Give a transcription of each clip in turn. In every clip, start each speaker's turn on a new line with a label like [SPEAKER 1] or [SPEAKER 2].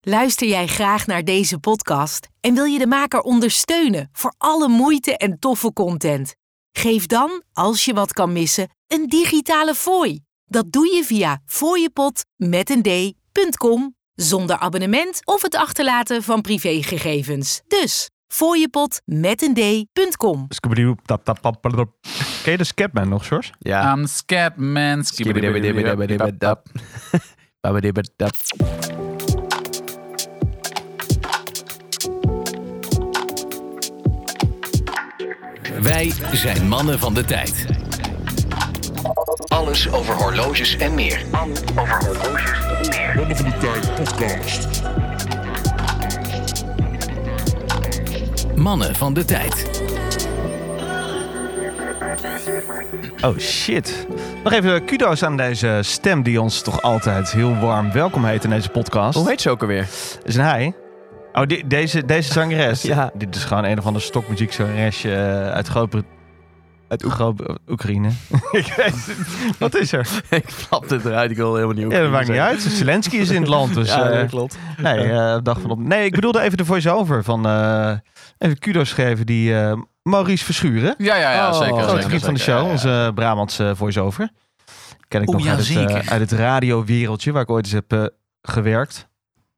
[SPEAKER 1] Luister jij graag naar deze podcast en wil je de maker ondersteunen voor alle moeite en toffe content? Geef dan, als je wat kan missen, een digitale fooi. Dat doe je via fooiepot.com zonder abonnement of het achterlaten van privégegevens. Dus fooiepot.com.
[SPEAKER 2] Scooby-Doo, tap, tap, pap, padadop. Ken je de Scapman nog, Sjors?
[SPEAKER 3] Ja.
[SPEAKER 4] I'm Scatman.
[SPEAKER 3] Skibbidibbidibbidibbidab. Babbidibbidab.
[SPEAKER 5] Wij zijn mannen van de tijd. Alles over horloges en meer. Mannen van de tijd.
[SPEAKER 2] Oh, shit. Nog even kudo's aan deze stem die ons toch altijd heel warm welkom heet in deze podcast.
[SPEAKER 3] Hoe heet ze ook alweer?
[SPEAKER 2] Is een hij? Oh, die- deze, deze zangeres.
[SPEAKER 3] Ja.
[SPEAKER 2] Dit is gewoon een of ander stokmuziekzangeresje eh, uit Groot-
[SPEAKER 3] Uit
[SPEAKER 2] Groot- Oekraïne. Ik weet het. Wat is er?
[SPEAKER 3] ik flap dit eruit, ik wil helemaal niet
[SPEAKER 2] Ja, dat maakt niet uit. Zelensky is in het land, dus...
[SPEAKER 3] ja,
[SPEAKER 2] eh,
[SPEAKER 3] dat klopt.
[SPEAKER 2] Nee, eh, dag van op. Nee, ik bedoelde even de voice-over van. eh, even kudos geven die eh, Maurice Verschuren.
[SPEAKER 4] Ja, ja, ja,
[SPEAKER 3] Oh,
[SPEAKER 4] zeker.
[SPEAKER 3] grote
[SPEAKER 2] Grote
[SPEAKER 4] zeker,
[SPEAKER 2] vriend van de
[SPEAKER 4] zeker.
[SPEAKER 2] show,
[SPEAKER 4] Ja, ja.
[SPEAKER 2] onze Brabantse voice-over. Ken ik
[SPEAKER 4] Oeh,
[SPEAKER 2] nog
[SPEAKER 4] ja,
[SPEAKER 2] uit, het, eh,
[SPEAKER 4] zeker.
[SPEAKER 2] uit het radiowereldje waar ik ooit eens heb eh, gewerkt.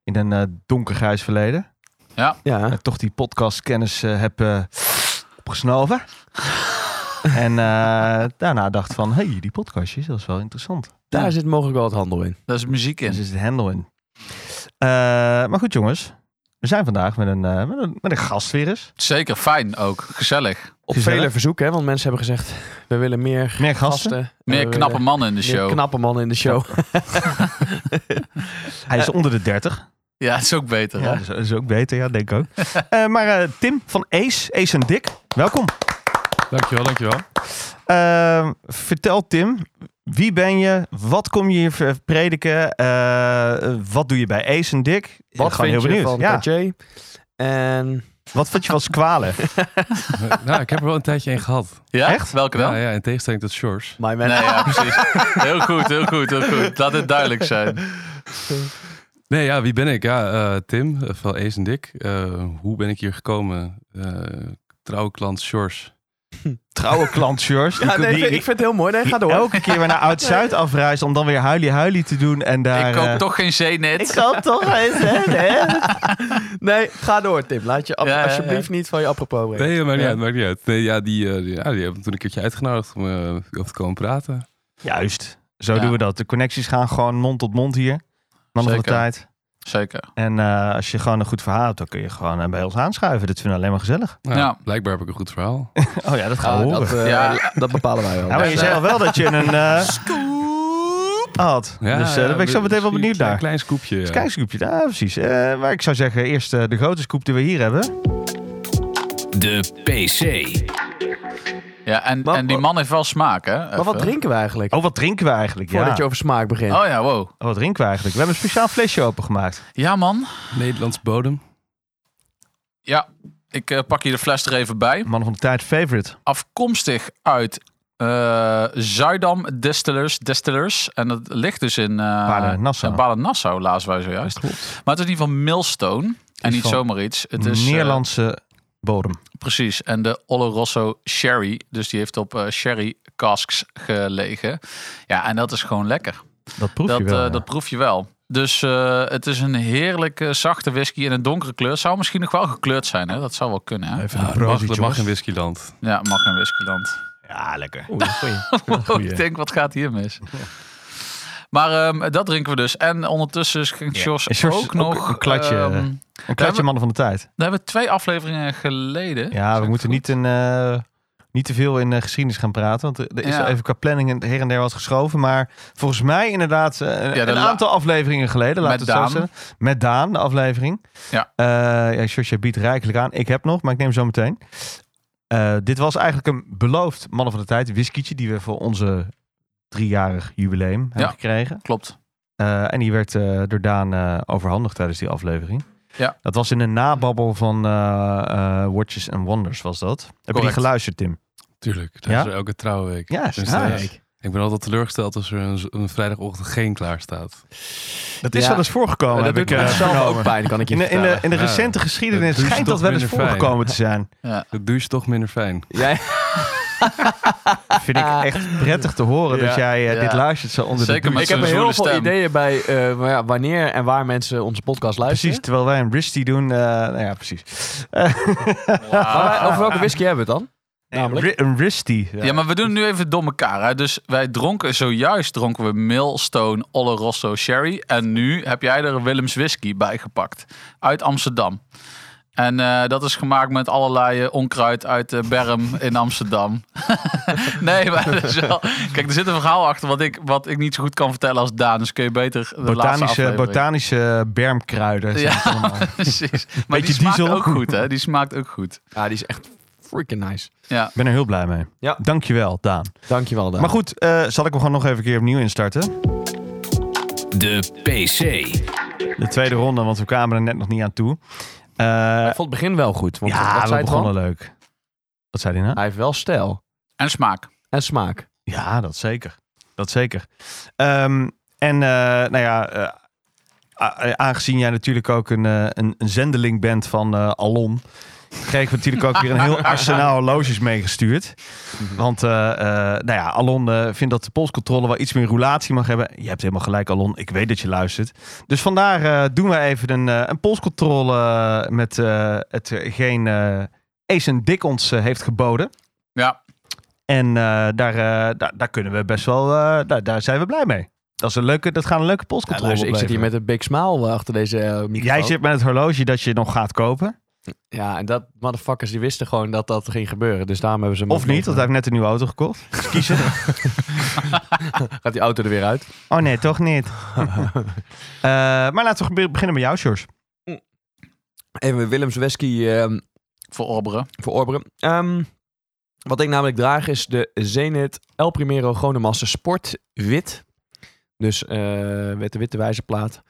[SPEAKER 2] In een eh donkergrijs verleden.
[SPEAKER 3] Ja.
[SPEAKER 2] En toch die podcastkennis eh, heb eh, opgesnoven. en eh, daarna dacht van, hey, die podcastjes, dat is wel interessant.
[SPEAKER 3] Daar zit mogelijk wel het handel in.
[SPEAKER 4] Daar is muziek
[SPEAKER 2] Dus
[SPEAKER 4] in.
[SPEAKER 2] is het handel in. Eh, maar goed, jongens. We zijn vandaag met een, eh, met een, met een gast weer eens.
[SPEAKER 4] Zeker, fijn ook. Gezellig.
[SPEAKER 3] Op
[SPEAKER 2] Gezellig.
[SPEAKER 3] vele verzoeken, hè, want mensen hebben gezegd, we willen meer
[SPEAKER 2] Meer gasten.
[SPEAKER 3] gasten. En we
[SPEAKER 4] Meer
[SPEAKER 3] willen
[SPEAKER 4] knappe mannen in de
[SPEAKER 3] meer
[SPEAKER 4] show.
[SPEAKER 3] knappe mannen in de show.
[SPEAKER 2] Hij
[SPEAKER 4] Eh,
[SPEAKER 2] is onder de 30.
[SPEAKER 4] Ja, is ook beter.
[SPEAKER 2] Ja,
[SPEAKER 4] hè?
[SPEAKER 2] dat is, dat is ook beter, ja, denk ik ook. Eh, maar eh, Tim van Ace, Ace en Dick, welkom.
[SPEAKER 6] Dankjewel, dankjewel.
[SPEAKER 2] Eh, vertel Tim, wie ben je? Wat kom je hier ver- prediken? Eh, wat doe je bij Ace en Dick? Ik ben
[SPEAKER 3] Wat
[SPEAKER 2] gewoon
[SPEAKER 3] vind
[SPEAKER 2] heel
[SPEAKER 3] je
[SPEAKER 2] benieuwd.
[SPEAKER 3] van
[SPEAKER 2] ja.
[SPEAKER 3] Cartier? En
[SPEAKER 2] Wat vond je van Squalen?
[SPEAKER 6] Eh, nou, ik heb er wel een tijdje een gehad.
[SPEAKER 4] Ja?
[SPEAKER 2] Echt?
[SPEAKER 4] Welke dan?
[SPEAKER 6] Ja, ja, in tegenstelling tot Shores.
[SPEAKER 3] My Man.
[SPEAKER 4] Nee, ja, precies. Heel goed, heel goed, heel goed. Laat het duidelijk zijn.
[SPEAKER 6] Nee, ja, wie ben ik? Ja, eh, Tim eh, van Ace en Dick. Eh, hoe ben ik hier gekomen? Eh trouwe klant Shores.
[SPEAKER 2] Trouwe klant, Sjors. Die-
[SPEAKER 3] Ja, nee, ik
[SPEAKER 2] die-
[SPEAKER 3] vind- ik vind het heel mooi. Nee,
[SPEAKER 2] die
[SPEAKER 3] ga door.
[SPEAKER 2] elke keer weer naar Oud-Zuid afreist om dan weer huilie-huilie te doen. En daar,
[SPEAKER 4] ik koop
[SPEAKER 2] eh,
[SPEAKER 4] toch geen Zenit.
[SPEAKER 3] zal het toch eens zeggen, hè? Nee, ga door, Tim. Laat je ap-
[SPEAKER 4] Ja, ja, ja.
[SPEAKER 3] alsjeblieft niet van je apropos brengen.
[SPEAKER 6] Nee, maakt niet
[SPEAKER 3] Ja.
[SPEAKER 6] uit, maakt niet uit. Nee, ja, die, eh, die, ja, die hebben me toen een keertje uitgenodigd om eh, over te komen praten.
[SPEAKER 2] Juist. Zo
[SPEAKER 4] Ja.
[SPEAKER 2] doen we dat. De connecties gaan gewoon mond tot mond hier. Mannen van de
[SPEAKER 4] Zeker.
[SPEAKER 2] tijd.
[SPEAKER 4] Zeker.
[SPEAKER 2] En eh, als je gewoon een goed verhaal hebt, dan kun je gewoon eh, bij ons aanschuiven. Dat vinden we alleen maar gezellig.
[SPEAKER 6] Nou,
[SPEAKER 4] Ja.
[SPEAKER 6] Blijkbaar heb ik een goed verhaal.
[SPEAKER 2] Oh ja, dat gaan we
[SPEAKER 3] Ah,
[SPEAKER 2] horen.
[SPEAKER 3] dat, eh,
[SPEAKER 4] Ja.
[SPEAKER 3] dat bepalen wij wel.
[SPEAKER 2] nou, maar je
[SPEAKER 4] eh,
[SPEAKER 2] zei al wel dat je een eh had.
[SPEAKER 6] Ja,
[SPEAKER 2] dus eh,
[SPEAKER 6] ja,
[SPEAKER 2] daar ben ik zo meteen wel
[SPEAKER 6] misschien
[SPEAKER 2] benieuwd
[SPEAKER 6] Een
[SPEAKER 2] naar.
[SPEAKER 6] klein scoopje.
[SPEAKER 2] Dus
[SPEAKER 6] ja.
[SPEAKER 2] Kijk, scoopje. Ja, precies. Eh, maar ik zou zeggen, eerst eh, de grote scoop die we hier hebben.
[SPEAKER 5] De PC.
[SPEAKER 4] Ja, en,
[SPEAKER 3] Maar-
[SPEAKER 4] en die man heeft wel smaak, hè?
[SPEAKER 3] maar wat drinken we eigenlijk?
[SPEAKER 2] Oh, wat drinken we eigenlijk? Ja.
[SPEAKER 3] Voordat je over smaak begint.
[SPEAKER 4] Oh ja, wow.
[SPEAKER 2] Oh, Wat drinken we eigenlijk? We hebben een speciaal flesje opengemaakt.
[SPEAKER 4] Ja, man.
[SPEAKER 6] Nederlands bodem.
[SPEAKER 4] Ja, ik eh, pak hier de fles er even bij.
[SPEAKER 2] Man van de tijd favorite.
[SPEAKER 4] afkomstig uit eh, Zuidam Distillers, Distillers. En dat ligt dus in eh,
[SPEAKER 2] Baden-Nassau.
[SPEAKER 4] in Baden-Nassau, lazen wij zojuist. Maar het is in ieder geval Millstone. En
[SPEAKER 2] is
[SPEAKER 4] niet
[SPEAKER 2] van
[SPEAKER 4] zomaar iets. Het is eh,
[SPEAKER 2] Nederlandse bodem.
[SPEAKER 4] precies. En de Oloroso Sherry. Dus die heeft op eh, sherry casks gelegen. Ja, en dat is gewoon lekker.
[SPEAKER 2] Dat proef
[SPEAKER 4] dat,
[SPEAKER 2] je wel.
[SPEAKER 4] eh,
[SPEAKER 2] ja.
[SPEAKER 4] dat proef je wel. Dus eh, het is een heerlijke zachte whisky in een donkere kleur. Zou misschien nog wel gekleurd zijn, hè? Dat zou wel kunnen, hè?
[SPEAKER 2] Ah,
[SPEAKER 6] Even een mag, dat mag in Whiskyland.
[SPEAKER 4] Ja, mag in whiskyland.
[SPEAKER 2] Ja, lekker.
[SPEAKER 4] Oh, ik denk, wat gaat hier mis? Maar ehm, dat drinken we dus. En ondertussen ging Sjors
[SPEAKER 2] En Sjors
[SPEAKER 4] ook,
[SPEAKER 2] ook
[SPEAKER 4] nog...
[SPEAKER 2] een klatje.
[SPEAKER 4] ehm,
[SPEAKER 2] Een klatje mannen van de tijd.
[SPEAKER 4] daar hebben we twee afleveringen geleden.
[SPEAKER 2] Ja, we moeten niet, in, eh, niet te veel in eh, geschiedenis gaan praten. Want eh, er er is
[SPEAKER 4] Ja.
[SPEAKER 2] even qua planning en her en der wat geschoven. Maar volgens mij inderdaad eh, een-
[SPEAKER 4] de
[SPEAKER 2] een
[SPEAKER 4] la-
[SPEAKER 2] aantal afleveringen geleden. Laten
[SPEAKER 4] Met
[SPEAKER 2] we het zo
[SPEAKER 4] Daan.
[SPEAKER 2] zeggen. Met Daan, de aflevering.
[SPEAKER 4] Ja.
[SPEAKER 2] Eh, ja, Sjors, jij biedt rijkelijk aan. Ik heb nog, maar ik neem zo meteen. Eh, dit was eigenlijk een beloofd mannen van de tijd whiskietje. Die we voor onze driejarig jubileum hebben
[SPEAKER 4] Ja.
[SPEAKER 2] gekregen.
[SPEAKER 4] Klopt.
[SPEAKER 2] Eh, en die werd eh, door Daan eh, overhandigd tijdens die aflevering.
[SPEAKER 4] Ja.
[SPEAKER 2] Dat was in een nababbel van eh, eh, Watches and Wonders was dat. Heb je die
[SPEAKER 4] Correct.
[SPEAKER 2] geluisterd, Tim?
[SPEAKER 6] Tuurlijk, dat
[SPEAKER 2] Ja?
[SPEAKER 6] is er elke trouwe week.
[SPEAKER 2] Ja,
[SPEAKER 6] Dus,
[SPEAKER 2] ja.
[SPEAKER 6] eh, Ik ben altijd teleurgesteld als er een, z- een vrijdagochtend geen klaar staat.
[SPEAKER 2] Dat is
[SPEAKER 3] Ja.
[SPEAKER 2] wel eens voorgekomen,
[SPEAKER 3] dat
[SPEAKER 2] heb
[SPEAKER 3] doet
[SPEAKER 2] ik
[SPEAKER 3] mij
[SPEAKER 2] eh,
[SPEAKER 3] zelf ook
[SPEAKER 2] vernomen.
[SPEAKER 3] pijn, kan ik je
[SPEAKER 2] In de, in de,
[SPEAKER 3] vertellen.
[SPEAKER 2] in de
[SPEAKER 6] Ja.
[SPEAKER 2] recente geschiedenis
[SPEAKER 6] Dat doe je
[SPEAKER 2] schijnt dat
[SPEAKER 6] toch
[SPEAKER 2] wel eens
[SPEAKER 6] minder fijn.
[SPEAKER 2] voorgekomen te zijn.
[SPEAKER 6] Dat douche toch minder fijn.
[SPEAKER 3] Jij-
[SPEAKER 2] Vind ik echt prettig te horen
[SPEAKER 3] Ja.
[SPEAKER 2] dat jij eh,
[SPEAKER 4] Ja.
[SPEAKER 2] dit luistert zo onder
[SPEAKER 4] Zeker
[SPEAKER 2] de douche.
[SPEAKER 4] met
[SPEAKER 3] ik heb
[SPEAKER 4] zo'n
[SPEAKER 3] heel
[SPEAKER 4] zwoele
[SPEAKER 3] veel
[SPEAKER 4] stem.
[SPEAKER 3] ideeën bij eh, wa- ja, wanneer en waar mensen onze podcast luisteren.
[SPEAKER 2] Precies, terwijl wij een wristy doen. eh, nou ja, precies. Eh, Ah.
[SPEAKER 3] Maar
[SPEAKER 4] Ah.
[SPEAKER 3] wij- over welke whisky hebben we het dan? Namelijk?
[SPEAKER 2] Namelijk? Een wristy.
[SPEAKER 4] Ja, maar we doen het nu even door elkaar. Hè? Dus wij dronken, zojuist dronken we Millstone Oloroso Sherry. En nu heb jij er een Willems Whisky bij gepakt. Uit Amsterdam. En eh, dat is gemaakt met allerlei eh, onkruid uit de Berm in Amsterdam. nee, maar dat is wel... Kijk, er zit een verhaal achter wat ik, wat ik niet zo goed kan vertellen als Daan. Dus kun je beter de laatste
[SPEAKER 2] botanische,
[SPEAKER 4] aflevering.
[SPEAKER 2] botanische bermkruiden. zijn
[SPEAKER 4] Ja.
[SPEAKER 2] het allemaal.
[SPEAKER 4] Precies. Maar die
[SPEAKER 2] Beetje
[SPEAKER 4] smaakt
[SPEAKER 2] diesel.
[SPEAKER 4] ook goed, hè? Die smaakt ook goed.
[SPEAKER 3] Ja, die is echt freaking nice.
[SPEAKER 2] Ik ben er heel blij mee.
[SPEAKER 3] Ja.
[SPEAKER 2] Dankjewel, Daan.
[SPEAKER 3] Dankjewel Daan.
[SPEAKER 2] Maar goed, eh, zal ik hem gewoon nog even een keer opnieuw instarten?
[SPEAKER 5] De PC.
[SPEAKER 2] De tweede ronde, want we kwamen er net nog niet aan toe. Eh,
[SPEAKER 3] ik vond het begin wel goed. Want wat
[SPEAKER 2] ja,
[SPEAKER 3] zei
[SPEAKER 2] we
[SPEAKER 3] het gewoon?
[SPEAKER 2] begonnen leuk. Wat zei hij nou?
[SPEAKER 3] Hij heeft wel stijl
[SPEAKER 4] En smaak.
[SPEAKER 3] en smaak.
[SPEAKER 2] Ja, dat zeker. Dat zeker. Ehm, en eh, nou ja, eh, a- a- aangezien jij natuurlijk ook een, eh, een, een zendeling bent van eh, Alon, kregen we natuurlijk ook weer een heel arsenaal horloges meegestuurd. Want eh, eh, nou ja, Alon eh, vindt dat de polscontrole wel iets meer roulatie mag hebben. Je hebt helemaal gelijk, Alon. Ik weet dat je luistert. Dus vandaar eh, doen we even een, eh, een polscontrole eh, met eh, hetgeen eh Ace en Dick ons eh, heeft geboden.
[SPEAKER 4] Ja.
[SPEAKER 2] En eh, daar, eh, daar, daar kunnen we best wel, eh, daar, daar zijn we blij mee. Dat, is een leuke, dat gaat een leuke
[SPEAKER 3] Ja,
[SPEAKER 2] postcontrole
[SPEAKER 3] luister, ik zit hier
[SPEAKER 2] opleveren.
[SPEAKER 3] met een big smile eh, achter deze eh, microfoon.
[SPEAKER 2] Jij zit met het horloge dat je nog gaat kopen.
[SPEAKER 3] Ja, en dat motherfuckers die wisten gewoon dat dat ging gebeuren. Dus daarom hebben ze... hem
[SPEAKER 2] Of niet, want hij heeft net een nieuwe auto gekocht. Dus kiezen.
[SPEAKER 3] Gaat die auto er weer uit.
[SPEAKER 2] oh nee, toch niet. Eh, maar laten we be- beginnen met jou, Sjors.
[SPEAKER 3] Even Willems Wesky ehm
[SPEAKER 4] Voor Orberen.
[SPEAKER 3] verorberen. Ehm, wat ik namelijk draag is de Zenit El Primero Gronemassa Sport Wit. Dus eh met de witte wijzerplaat.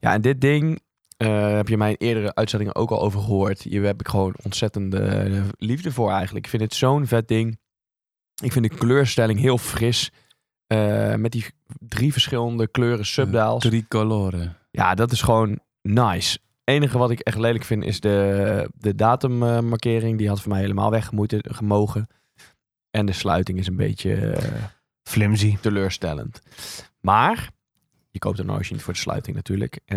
[SPEAKER 3] Ja, en dit ding eh, heb je mij in eerdere uitzendingen ook al over gehoord. Hier heb ik gewoon ontzettende eh, liefde voor eigenlijk. Ik vind het zo'n vet ding. Ik vind de kleurstelling heel fris. eh, met die drie verschillende kleuren subdaals.
[SPEAKER 6] Tricolore.
[SPEAKER 3] Ja, dat is gewoon nice. enige wat ik echt lelijk vind is de, de datummarkering. Die had voor mij helemaal weggemoeten, gemogen. En de sluiting is een beetje eh,
[SPEAKER 2] Flimsy.
[SPEAKER 3] teleurstellend. Maar je koopt een horloge niet voor de sluiting natuurlijk. Eh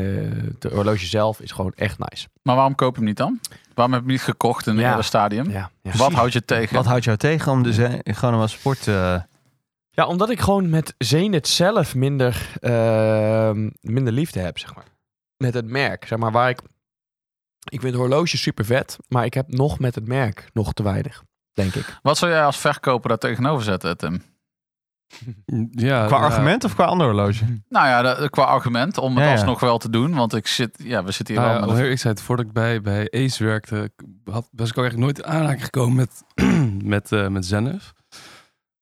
[SPEAKER 3] de horloge zelf is gewoon echt nice.
[SPEAKER 4] Maar waarom koop je hem niet dan? Waarom heb je hem niet gekocht in een
[SPEAKER 3] Ja.
[SPEAKER 4] eerder stadium?
[SPEAKER 3] Ja, ja.
[SPEAKER 4] Wat houdt je tegen?
[SPEAKER 2] Wat houdt jou tegen om dus eh, gewoon een sport... eh,
[SPEAKER 3] ja omdat ik gewoon met Zenit zelf minder, ehm, minder liefde heb, zeg maar. Met het merk, zeg maar, waar ik... Ik vind horloges super vet, maar ik heb nog met het merk nog te weinig, denk ik.
[SPEAKER 4] Wat zou jij als verkoper daar tegenover zetten, Tim?
[SPEAKER 6] Ja,
[SPEAKER 2] Mm, qua
[SPEAKER 6] Oh, ja.
[SPEAKER 2] argument of qua ander horloge?
[SPEAKER 4] Nou ja, dat- qua argument om het
[SPEAKER 2] Ja, ja.
[SPEAKER 4] alsnog wel te doen. Want ik zit, ja, we zitten hier
[SPEAKER 6] Nou ja,
[SPEAKER 4] wel
[SPEAKER 6] om
[SPEAKER 4] met...
[SPEAKER 6] heel eerlijk te zijn, voordat ik bij, bij Ace werkte, ik had, was ik ook eigenlijk nooit in aanraking gekomen met, met, eh met Zenef.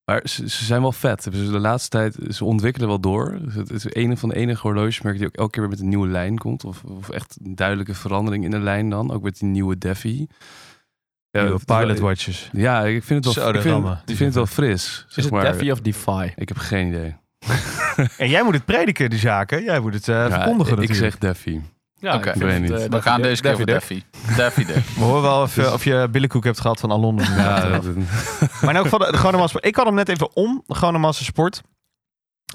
[SPEAKER 6] Maar ze, ze zijn wel vet. Dus de laatste tijd, ze ontwikkelen wel door. Dus het is een van de enige horlogemerken die ook elke keer weer met een nieuwe lijn komt. Of, of echt een duidelijke verandering in de lijn dan. Ook met die nieuwe Deffy. Ja,
[SPEAKER 2] Nieuwe
[SPEAKER 6] het is wel-
[SPEAKER 2] pilot watches.
[SPEAKER 6] Ja, ik vind het wel,
[SPEAKER 2] Zo,
[SPEAKER 6] ik
[SPEAKER 2] dat
[SPEAKER 6] vind,
[SPEAKER 2] allemaal.
[SPEAKER 6] ik vind het wel fris.
[SPEAKER 3] Is
[SPEAKER 6] Zeg
[SPEAKER 3] het
[SPEAKER 6] maar.
[SPEAKER 3] Daffy of Defy?
[SPEAKER 6] Ik heb geen idee.
[SPEAKER 2] En jij moet het prediken, die zaken. Jij moet het eh,
[SPEAKER 6] Ja,
[SPEAKER 2] verkondigen
[SPEAKER 6] ik
[SPEAKER 2] natuurlijk.
[SPEAKER 6] zeg Deffy.
[SPEAKER 3] Ja,
[SPEAKER 4] Oké. ik
[SPEAKER 6] vind het, eh,
[SPEAKER 4] We gaan deze keer voor Daffy. Daffy Duck.
[SPEAKER 2] We horen wel of, je- of je billenkoek hebt gehad van Alon.
[SPEAKER 6] Ja, dat,
[SPEAKER 2] Maar in elk geval, de, de gewone massa sport. Ik had hem net even om, de gewone massa sport.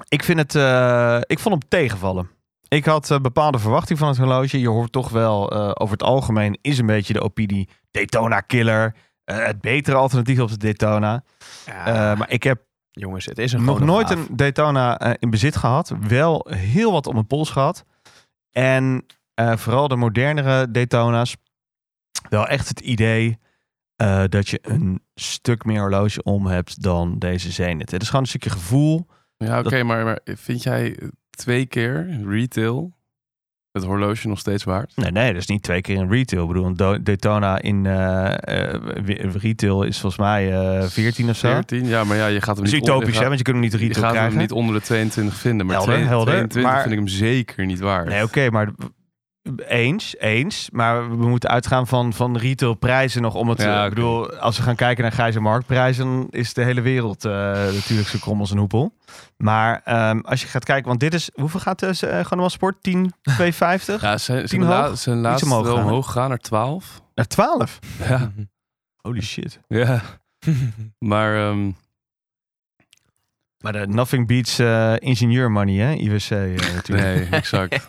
[SPEAKER 2] Ik, vind het, eh, ik vond hem tegenvallen. Ik had eh, bepaalde verwachting van het horloge. Je hoort toch wel, eh, over het algemeen is een beetje de opinie Daytona killer. eh, het betere alternatief op de Daytona.
[SPEAKER 3] Ah.
[SPEAKER 2] Eh, maar ik heb
[SPEAKER 3] jongens, het is een
[SPEAKER 2] nog
[SPEAKER 3] gewone
[SPEAKER 2] nooit
[SPEAKER 3] vraag.
[SPEAKER 2] een Daytona eh, in bezit gehad. Wel heel wat om mijn pols gehad. En eh, vooral de modernere Daytona's. Wel echt het idee eh, dat je een stuk meer horloge om hebt dan deze Zenith. Het is gewoon een stukje gevoel.
[SPEAKER 6] Ja, oké, maar, maar vind jij eh, twee keer retail het horloge nog steeds waard?
[SPEAKER 2] Nee, nee, dat is niet twee keer in retail. Ik bedoel, een Do- Daytona in eh, eh, wi- retail is volgens mij eh 14 of zo.
[SPEAKER 6] 14? Ja, maar ja, je gaat hem
[SPEAKER 2] Dat is
[SPEAKER 6] niet onder-
[SPEAKER 2] utopisch, hè? Want je kunt hem niet
[SPEAKER 6] Je gaat, je
[SPEAKER 2] retail
[SPEAKER 6] gaat
[SPEAKER 2] krijgen.
[SPEAKER 6] hem niet onder de 22 vinden. Maar
[SPEAKER 2] Helder, helder,
[SPEAKER 6] 22
[SPEAKER 2] maar-
[SPEAKER 6] vind ik hem zeker niet waard.
[SPEAKER 2] Nee, oké, maar Eens, eens. Maar we moeten uitgaan van, van retailprijzen nog. Om het,
[SPEAKER 6] Ja,
[SPEAKER 2] eh,
[SPEAKER 6] oké.
[SPEAKER 2] Ik bedoel, als we gaan kijken naar grijze marktprijzen, dan is de hele wereld eh, natuurlijk zo krom als een hoepel. Maar ehm, als je gaat kijken, want dit is, hoeveel gaat de eh, gewoon wel sport? 10, 2,50?
[SPEAKER 6] Ja, zijn,
[SPEAKER 2] Tien
[SPEAKER 6] zijn, la-
[SPEAKER 2] hoog?
[SPEAKER 6] zijn laatste
[SPEAKER 2] omhoog
[SPEAKER 6] wel
[SPEAKER 2] gaan, hè?
[SPEAKER 6] omhoog gaan naar 12.
[SPEAKER 2] Naar 12.
[SPEAKER 6] Ja,
[SPEAKER 2] Holy shit.
[SPEAKER 6] ja. maar ehm,
[SPEAKER 2] Maar de Nothing Beats eh, ingenieur money, hè? IWC eh, natuurlijk.
[SPEAKER 6] nee, exact.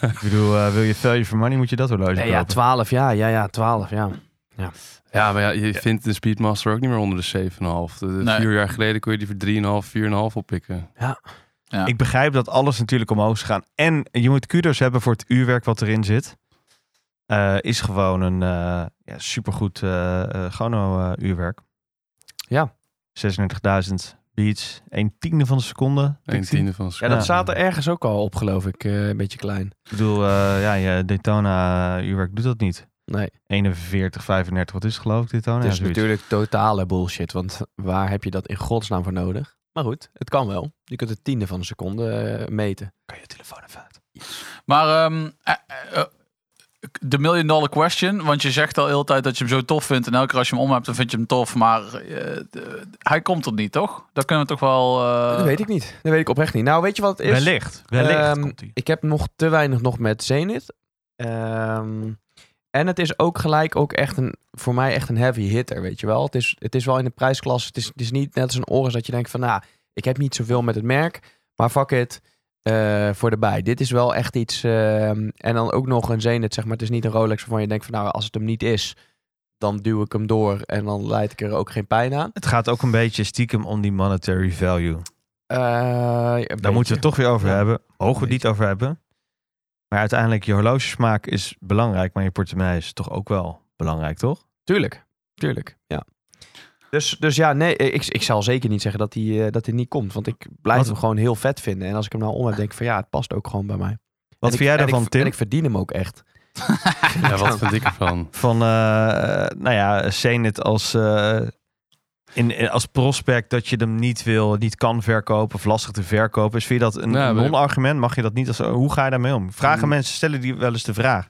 [SPEAKER 2] Ik bedoel, eh, wil je value for money, moet je dat horloge
[SPEAKER 3] Nee,
[SPEAKER 2] kopen.
[SPEAKER 3] ja, 12, ja, ja, ja, 12, ja.
[SPEAKER 6] Ja, maar ja, je vindt de Speedmaster ook niet meer onder de 7,5. De- de
[SPEAKER 4] Nee.
[SPEAKER 6] Vier jaar geleden kon je die voor 3,5, 4,5 oppikken.
[SPEAKER 4] Ja.
[SPEAKER 2] Ik begrijp dat alles natuurlijk omhoog is gegaan. En je moet kudos hebben voor het uurwerk wat erin zit. Eh, is gewoon een eh, ja, supergoed eh eh, Gono eh, uurwerk.
[SPEAKER 3] Ja.
[SPEAKER 2] 36.000 beats. Een tiende van de seconde.
[SPEAKER 6] Een tiende van
[SPEAKER 3] Ja,
[SPEAKER 6] zijn.
[SPEAKER 3] dat staat er ergens ook al op, geloof ik. eh, een beetje klein.
[SPEAKER 2] Ik bedoel, eh, ja, je Daytona uurwerk doet dat niet.
[SPEAKER 3] Nee,
[SPEAKER 2] 41, 35, wat is het geloof ik Daytona?
[SPEAKER 3] het
[SPEAKER 2] Ja,
[SPEAKER 3] is
[SPEAKER 2] zoiets.
[SPEAKER 3] natuurlijk totale bullshit. Want waar heb je dat in godsnaam voor nodig? Maar goed, het kan wel. Je kunt het tiende van een seconde eh, meten.
[SPEAKER 2] Kan je telefoon even uit?
[SPEAKER 4] Maar ehm, eh, eh, eh, de million dollar question, want je zegt al heel de tijd dat je hem zo tof vindt en elke keer als je hem om hebt, dan vind je hem tof, maar eh, de- hij komt er niet, toch? Dat kunnen we toch wel. eh,
[SPEAKER 3] dat weet ik niet. Dat weet ik oprecht niet. Nou, weet je wat het is?
[SPEAKER 2] Wellicht. Wellicht
[SPEAKER 3] Ehm,
[SPEAKER 2] komt die.
[SPEAKER 3] Ik heb nog te weinig nog met Zenith. Ehm, en het is ook gelijk ook echt een, voor mij echt een heavy hitter, weet je wel. Het is, het is wel in de prijsklasse. Het is, het is niet net als een Oris dat je denkt van, nou, ik heb niet zoveel met het merk. Maar fuck it, eh, voor de bij. Dit is wel echt iets. ehm, en dan ook nog een Zenith, zeg maar. Het is niet een Rolex waarvan je denkt van, nou, als het hem niet is, dan duw ik hem door. En dan leid ik er ook geen pijn aan.
[SPEAKER 2] Het gaat ook een beetje stiekem om die monetary value.
[SPEAKER 3] Eh, een
[SPEAKER 2] Daar moeten
[SPEAKER 3] beetje.
[SPEAKER 2] we het toch weer over
[SPEAKER 3] Ja.
[SPEAKER 2] hebben. Mogen we
[SPEAKER 3] Beetje.
[SPEAKER 2] het niet over hebben. Maar uiteindelijk, je horlogesmaak is belangrijk, maar je portemonnee is toch ook wel belangrijk, toch?
[SPEAKER 3] Tuurlijk, tuurlijk, ja. Dus, dus ja, nee, ik, ik zal zeker niet zeggen dat hij eh, dat hij niet komt. Want ik blijf
[SPEAKER 2] Wat-
[SPEAKER 3] hem gewoon heel vet vinden. En als ik hem nou om heb, denk ik van ja, het past ook gewoon bij mij.
[SPEAKER 2] Wat
[SPEAKER 3] En
[SPEAKER 2] vind jij
[SPEAKER 3] ik, en
[SPEAKER 2] daarvan,
[SPEAKER 3] ik,
[SPEAKER 2] Tim?
[SPEAKER 3] En ik verdien hem ook echt.
[SPEAKER 6] Ja, wat vind ik ervan?
[SPEAKER 2] Van, eh, eh, nou ja, Zenit als, eh, in, in- als prospect dat je hem niet wil, niet kan verkopen of lastig te verkopen. Is vind je dat een
[SPEAKER 6] Nou, maar-
[SPEAKER 2] non-argument? Mag je dat niet als, hoe ga je daarmee om? Vragen
[SPEAKER 6] Mm.
[SPEAKER 2] mensen, stellen die wel eens de vraag.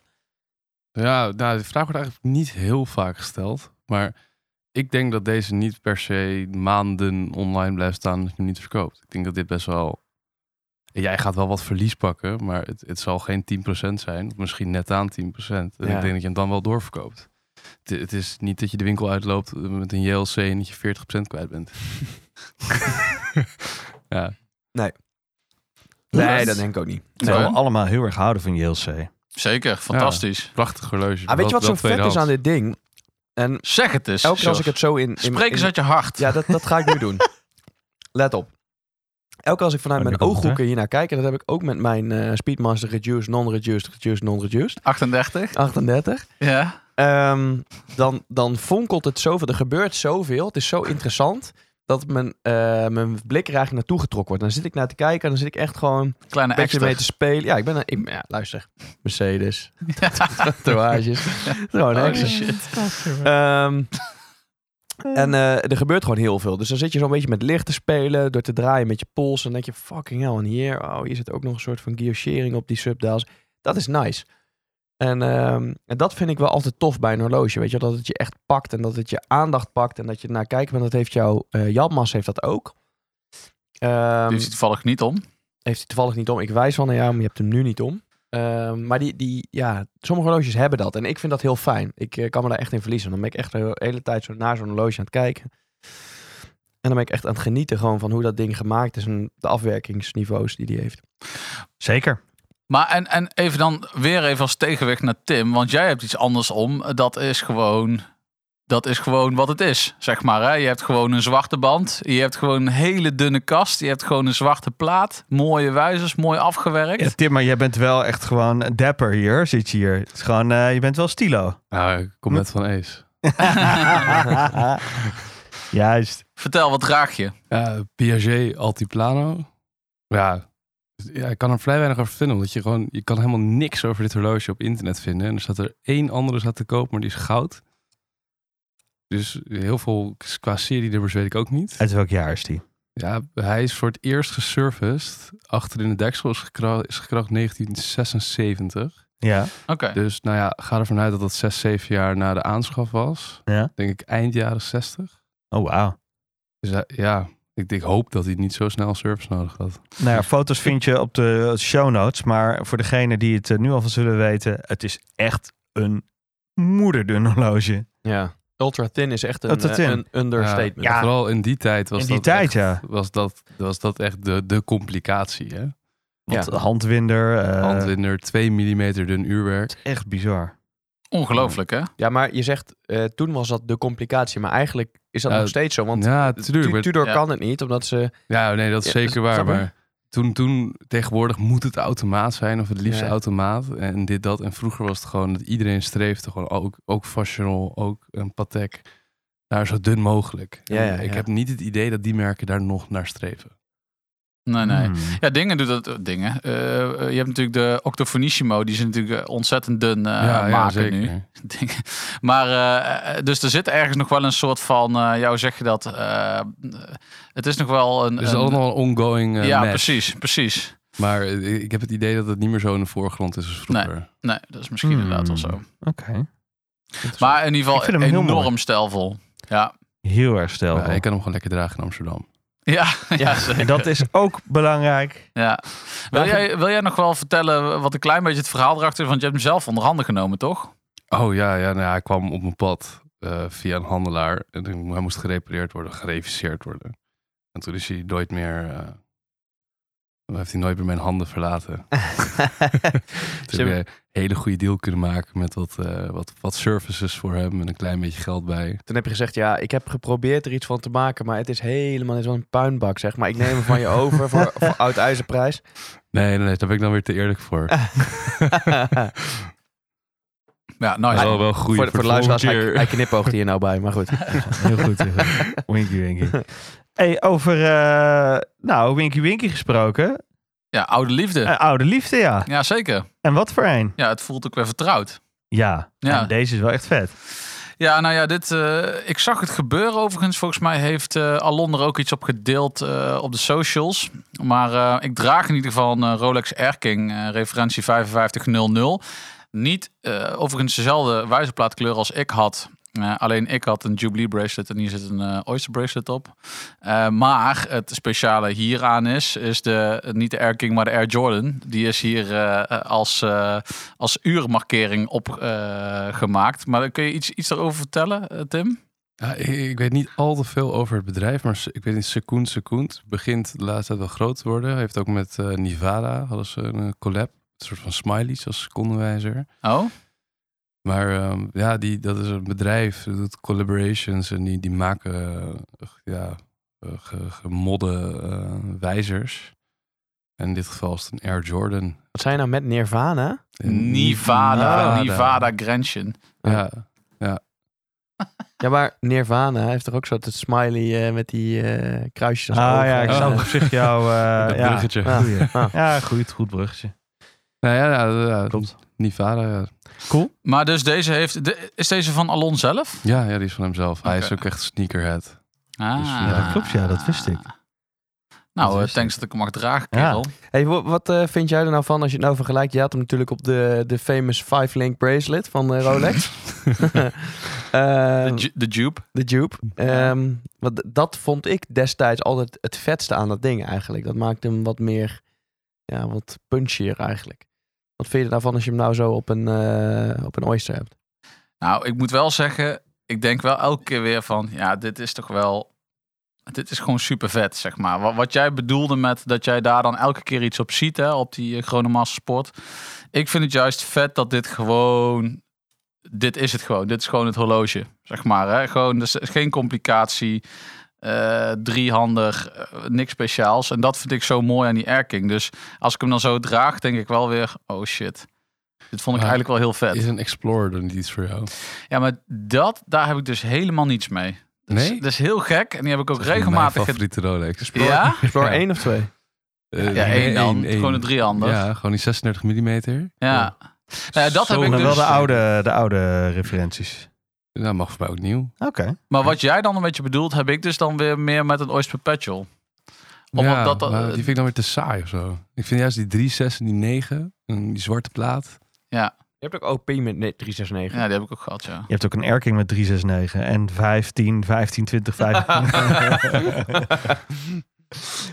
[SPEAKER 6] Ja, nou, de vraag wordt eigenlijk niet heel vaak gesteld. Maar ik denk dat deze niet per se maanden online blijft staan als je hem niet verkoopt. Ik denk dat dit best wel... Jij gaat wel wat verlies pakken, maar het, het zal geen 10% zijn. Of misschien net aan 10%. En ik
[SPEAKER 3] Ja.
[SPEAKER 6] denk dat je hem dan wel doorverkoopt. Het, het is niet dat je de winkel uitloopt eh, met een JLC en dat je 40% kwijt bent. ja,
[SPEAKER 3] Nee, dat denk ik ook niet. Ah,
[SPEAKER 2] Ze
[SPEAKER 4] Nee.
[SPEAKER 2] allemaal heel erg houden van JLC.
[SPEAKER 4] Zeker, fantastisch.
[SPEAKER 6] prachtig horloge.
[SPEAKER 3] Ah, weet je
[SPEAKER 6] Wel-
[SPEAKER 3] wat zo
[SPEAKER 6] wel
[SPEAKER 3] vet is aan
[SPEAKER 6] tweedehands.
[SPEAKER 3] dit ding? En
[SPEAKER 4] Zeg het eens.
[SPEAKER 3] elke keer als
[SPEAKER 4] George.
[SPEAKER 3] ik het zo in... in
[SPEAKER 4] Spreek eens
[SPEAKER 3] in-
[SPEAKER 4] uit je hart.
[SPEAKER 3] Ja, dat, dat ga ik nu doen. Let op. Elke keer als ik vanuit
[SPEAKER 2] Oh, nu
[SPEAKER 3] mijn
[SPEAKER 2] komt het,
[SPEAKER 3] ooghoeken hier naar kijk, en dat heb ik ook met mijn eh, Speedmaster Reduced, Non-Reduced, Reduced, Non-Reduced,
[SPEAKER 4] 38.
[SPEAKER 3] 38.
[SPEAKER 4] Ja.
[SPEAKER 3] Ehm, dan, dan fonkelt het zoveel. Er gebeurt zoveel. Het is zo interessant. Dat mijn, eh, mijn blik er eigenlijk naartoe getrokken wordt. Dan zit ik naar te kijken en dan zit ik echt gewoon een
[SPEAKER 4] Kleine
[SPEAKER 3] beetje
[SPEAKER 4] extra.
[SPEAKER 3] mee te spelen. Ja, ik ben een, ik- ja, luister. Mercedes, tatoeages. Gewoon
[SPEAKER 4] Oh,
[SPEAKER 3] een extra.
[SPEAKER 4] shit.
[SPEAKER 3] Ehm, en eh, er gebeurt gewoon heel veel. Dus dan zit je zo'n beetje met licht te spelen, door te draaien met je pols. En dan denk je, fucking hell, en hier, oh, hier zit ook nog een soort van gearshering op die subdials. Dat is nice. En, ehm, en dat vind ik wel altijd tof bij een horloge. Weet je, wel, dat het je echt pakt en dat het je aandacht pakt. En dat je naar kijkt, want dat heeft jouw... eh Janmas heeft dat ook. Ehm,
[SPEAKER 4] Die heeft hij toevallig niet om.
[SPEAKER 3] heeft hij toevallig niet om. Ik wijs wel naar jou, maar je hebt hem nu niet om. Ehm, maar die, die, ja, sommige horloges hebben dat. En ik vind dat heel fijn. Ik eh, kan me daar echt in verliezen. Dan ben ik echt de hele tijd zo naar zo'n horloge aan het kijken. En dan ben ik echt aan het genieten gewoon van hoe dat ding gemaakt is. En de afwerkingsniveaus die die heeft.
[SPEAKER 2] Zeker.
[SPEAKER 4] Maar en, en even dan weer even als tegenweg naar Tim, want jij hebt iets anders om. Dat is gewoon, dat is gewoon wat het is, zeg maar. Hè? Je hebt gewoon een zwarte band, je hebt gewoon een hele dunne kast, je hebt gewoon een zwarte plaat, mooie wijzers, mooi afgewerkt.
[SPEAKER 2] Ja, Tim, maar jij bent wel echt gewoon dapper hier, zit je hier. Het is gewoon, eh, je bent wel stilo.
[SPEAKER 6] Nou, ik
[SPEAKER 3] Hm?
[SPEAKER 6] kom net van Ace.
[SPEAKER 2] Juist.
[SPEAKER 4] Vertel, wat draag je?
[SPEAKER 6] Ja, Piaget Altiplano. Ja, ja, ik kan er vrij weinig over vinden. Omdat je gewoon, je kan helemaal niks over dit horloge op internet vinden. En er staat er één andere staat te koop, maar die is goud. Dus heel veel qua serienummers weet ik ook niet.
[SPEAKER 2] Uit welk jaar is die?
[SPEAKER 6] Ja, hij is voor het eerst gesurfaced. Achter in de deksel is gekra- is gekracht 1976.
[SPEAKER 2] Ja.
[SPEAKER 4] Oké.
[SPEAKER 6] Dus nou ja, ga ervan uit dat dat zes, zeven jaar na de aanschaf was.
[SPEAKER 2] Ja.
[SPEAKER 6] Denk ik eind jaren zestig.
[SPEAKER 2] Oh, wauw.
[SPEAKER 6] Dus hij- ja, ik, ik hoop dat hij niet zo snel service nodig had.
[SPEAKER 2] Nou ja, foto's vind je op de show notes. Maar voor degene die het eh, nu al van zullen weten, het is echt een moederdun horloge.
[SPEAKER 3] Ja. Ultra thin is echt een,
[SPEAKER 2] Ultra
[SPEAKER 3] eh,
[SPEAKER 2] thin.
[SPEAKER 3] een understatement.
[SPEAKER 2] Ja.
[SPEAKER 6] Vooral in die tijd was
[SPEAKER 2] In die
[SPEAKER 6] dat
[SPEAKER 2] tijd,
[SPEAKER 6] echt-
[SPEAKER 2] ja.
[SPEAKER 6] was dat, was dat echt de, de complicatie. Hè?
[SPEAKER 2] Want
[SPEAKER 3] Ja.
[SPEAKER 2] handwinder, eh,
[SPEAKER 6] Handwinder, 2 mm dun uurwerk.
[SPEAKER 2] echt bizar.
[SPEAKER 4] Ongelooflijk, hè?
[SPEAKER 3] Ja, maar je zegt, eh, toen was dat de complicatie. Maar eigenlijk is dat
[SPEAKER 6] Ja,
[SPEAKER 3] nog steeds zo. Want
[SPEAKER 6] ja,
[SPEAKER 3] Tu-
[SPEAKER 6] tuurlijk. maar-
[SPEAKER 3] Tudor
[SPEAKER 4] Ja.
[SPEAKER 3] kan het niet, omdat ze...
[SPEAKER 6] ja, nee, dat is
[SPEAKER 3] Ja,
[SPEAKER 6] zeker
[SPEAKER 3] dus-
[SPEAKER 6] waar.
[SPEAKER 3] snap je?
[SPEAKER 6] Maar toen, toen, tegenwoordig moet het automaat zijn, of het liefst
[SPEAKER 3] Ja.
[SPEAKER 6] automaat. En dit, dat. En vroeger was het gewoon dat iedereen streefde, gewoon ook, ook fashional, ook een Patek, naar zo dun mogelijk.
[SPEAKER 3] Ja, ja,
[SPEAKER 6] En ik
[SPEAKER 3] ja.
[SPEAKER 6] heb niet het idee dat die merken daar nog naar streven.
[SPEAKER 4] Nee, nee.
[SPEAKER 2] Hmm.
[SPEAKER 4] Ja, dingen doet dat. eh, Dingen. Eh, eh, je hebt natuurlijk de Octofonissimo. Die is natuurlijk eh, ontzettend dun eh, maken nu.
[SPEAKER 6] Dus
[SPEAKER 4] Dingen. Maar, eh, eh, dus er zit ergens nog wel een soort van... eh jou zeg je dat... eh, het is nog wel een...
[SPEAKER 6] Dus
[SPEAKER 4] een-
[SPEAKER 6] allemaal een ongoing eh,
[SPEAKER 4] ja,
[SPEAKER 6] match.
[SPEAKER 4] precies, precies.
[SPEAKER 6] Maar eh, ik heb het idee dat het niet meer zo in de voorgrond is als vroeger.
[SPEAKER 4] Nee, dat is misschien
[SPEAKER 2] Hmm.
[SPEAKER 4] inderdaad wel zo.
[SPEAKER 2] Oké.
[SPEAKER 4] Maar in ieder
[SPEAKER 2] Ik vind
[SPEAKER 4] geval
[SPEAKER 2] hem heel mooi.
[SPEAKER 4] enorm stijlvol. Ja.
[SPEAKER 2] Heel erg stel.
[SPEAKER 6] Ja, ik kan hem gewoon lekker dragen in Amsterdam.
[SPEAKER 4] Ja, ja, zeker.
[SPEAKER 2] En dat is ook belangrijk.
[SPEAKER 4] Ja. Wil, jij, wil jij nog wel vertellen wat een klein beetje het verhaal erachter is? Want je hebt hem zelf onder handen genomen, toch?
[SPEAKER 6] Oh ja, ja nou, ja, hij kwam op mijn pad eh, via een handelaar. En toen- hij moest gerepareerd worden, gereviseerd worden. En toen is hij nooit meer... eh, toen heeft hij nooit meer mijn handen verlaten. Toen heb
[SPEAKER 3] Ze-
[SPEAKER 6] je een hele goede deal kunnen maken met wat, eh, wat, wat services voor hem en een klein beetje geld bij.
[SPEAKER 3] Toen heb je gezegd, ja, ik heb geprobeerd er iets van te maken, maar het is helemaal niet zo'n puinbak, zeg maar. Ik neem hem van je over voor, voor oud ijzerprijs.
[SPEAKER 6] Nee, nee, nee, daar ben ik dan weer te eerlijk voor.
[SPEAKER 4] Ja,
[SPEAKER 6] Hij
[SPEAKER 4] nice.
[SPEAKER 6] is wel wel goed
[SPEAKER 3] voor, de- voor de luisteraars, hij,
[SPEAKER 6] keer.
[SPEAKER 3] hij knipoogt hier nou bij, maar goed.
[SPEAKER 2] Heel goed. heel goed. winky Winky. Hey, over eh, nou, Winky Winky gesproken.
[SPEAKER 4] Ja, oude liefde.
[SPEAKER 2] Eh, oude liefde, ja.
[SPEAKER 4] Ja, zeker.
[SPEAKER 2] En wat voor een?
[SPEAKER 4] Ja, het voelt ook weer vertrouwd.
[SPEAKER 2] Ja.
[SPEAKER 4] Ja.
[SPEAKER 2] En deze is wel echt vet.
[SPEAKER 4] Ja, nou ja, dit, eh, ik zag het gebeuren overigens. Volgens mij heeft eh, Alon er ook iets op gedeeld eh, op de socials. Maar eh, ik draag in ieder geval een eh, Rolex Erking, eh, referentie 5500. Niet eh, overigens dezelfde wijzerplaatkleur als ik had. Eh, alleen ik had een Jubilee bracelet en hier zit een eh, Oyster bracelet op. Eh, maar het speciale hieraan is, is de, niet de Air King, maar de Air Jordan. Die is hier eh, eh, als, eh, als uurmarkering opgemaakt. gemaakt. maar kun je iets, iets daarover vertellen, eh, Tim?
[SPEAKER 6] Ja, ik, ik weet niet al te veel over het bedrijf, maar se- ik weet niet, Secund Secund begint de laatste tijd wel groot te worden. Heeft ook met eh, Nivada, hadden ze een eh, collab, een soort van smileys als secondenwijzer.
[SPEAKER 4] Oh,
[SPEAKER 6] Maar ehm, ja, die, dat is een bedrijf, dat doet collaborations en die, die maken eh, ja, eh, ge- gemodde eh, wijzers. En in dit geval is het een Air Jordan.
[SPEAKER 3] Wat zijn nou met Nirvana?
[SPEAKER 6] Een
[SPEAKER 4] Nivada, Nivada Grenchen.
[SPEAKER 6] Ja,
[SPEAKER 3] Ja, maar Nirvana heeft toch ook zo dat smiley eh, met die eh, kruisjes
[SPEAKER 2] Ah
[SPEAKER 3] als ogen
[SPEAKER 2] ja, ik
[SPEAKER 3] en,
[SPEAKER 2] snap
[SPEAKER 3] eh,
[SPEAKER 2] op zich jouw... eh,
[SPEAKER 6] dat
[SPEAKER 2] ja.
[SPEAKER 6] bruggetje.
[SPEAKER 3] Ja.
[SPEAKER 2] Goeie.
[SPEAKER 3] Ah.
[SPEAKER 2] Ja, goed, goed bruggetje.
[SPEAKER 6] Nou ja, ja, ja,
[SPEAKER 2] Klopt.
[SPEAKER 6] Nivada, ja.
[SPEAKER 4] Maar dus deze heeft, de- is deze van Alon zelf?
[SPEAKER 6] Ja, ja, die is van hemzelf. Hij is
[SPEAKER 4] Oké.
[SPEAKER 6] ook echt sneakerhead.
[SPEAKER 4] Ah.
[SPEAKER 6] ja, dat
[SPEAKER 2] klopt, ja, dat wist ik.
[SPEAKER 4] Nou,
[SPEAKER 2] Dat
[SPEAKER 4] eh,
[SPEAKER 2] wist ik.
[SPEAKER 4] thanks dat ik hem mag dragen,
[SPEAKER 2] Ja.
[SPEAKER 4] kerel.
[SPEAKER 3] Hey, wa- wat eh, vind jij er nou van als je het nou vergelijkt? Je had hem natuurlijk op de, de famous Five link bracelet van eh, Rolex.
[SPEAKER 4] De,
[SPEAKER 3] Ehm,
[SPEAKER 4] ju- de dupe.
[SPEAKER 3] de dupe. Ehm, want dat vond ik destijds altijd het vetste aan dat ding eigenlijk. Dat maakte hem wat meer, ja, wat punchier eigenlijk. Wat vind je daarvan als je hem nou zo op een, eh, op een oyster hebt?
[SPEAKER 4] Nou, ik moet wel zeggen, ik denk wel elke keer weer van, ja, dit is toch wel, dit is gewoon super vet, zeg maar. Wat, wat jij bedoelde met dat jij daar dan elke keer iets op ziet, hè, op die eh, Chronomaster Sport. Ik vind het juist vet dat dit gewoon, dit is het gewoon. Dit is gewoon het horloge, zeg maar. Hè? Gewoon, dus er is geen complicatie, eh, driehandig, eh, niks speciaals. En dat vind ik zo mooi aan die erking. Dus als ik hem dan zo draag, denk ik wel weer, oh shit. Dit vond ik
[SPEAKER 6] Maar
[SPEAKER 4] eigenlijk wel heel vet.
[SPEAKER 6] Is een Explorer dan niet iets voor jou?
[SPEAKER 4] Ja, maar dat, daar heb ik dus helemaal niets mee. Dat Is,
[SPEAKER 6] Nee?
[SPEAKER 4] dat is heel gek. En die heb ik ook
[SPEAKER 6] Dat is gewoon
[SPEAKER 4] regelmatig...
[SPEAKER 6] Mijn favoriete Rolex.
[SPEAKER 4] ge- Ja?
[SPEAKER 3] Explorer
[SPEAKER 6] Ja.
[SPEAKER 3] één of twee?
[SPEAKER 6] Eh,
[SPEAKER 4] Ja, één dan.
[SPEAKER 6] één.
[SPEAKER 4] Gewoon een driehander. Ja.
[SPEAKER 6] Ja, gewoon die 36 mm.
[SPEAKER 4] ja. Nou ja, dat heb
[SPEAKER 6] Zo
[SPEAKER 4] ik
[SPEAKER 2] Maar
[SPEAKER 4] dus.
[SPEAKER 2] Oh, wel de oude, de oude referenties.
[SPEAKER 6] Nou, mag voor mij ook nieuw.
[SPEAKER 2] Oké.
[SPEAKER 4] Maar wat jij dan een beetje bedoelt, heb ik dus dan weer meer met een Oyster Perpetual. Omdat
[SPEAKER 6] ja,
[SPEAKER 4] dat-
[SPEAKER 6] maar die vind ik dan weer te saai of zo. Ik vind juist die 3,6 en die 9, en die zwarte plaat.
[SPEAKER 4] Ja.
[SPEAKER 3] Je hebt ook OP met nee, 369.
[SPEAKER 4] ja, die heb ik ook gehad, ja.
[SPEAKER 2] Je hebt ook een Erking met 369 en 15, 15, 20, 15.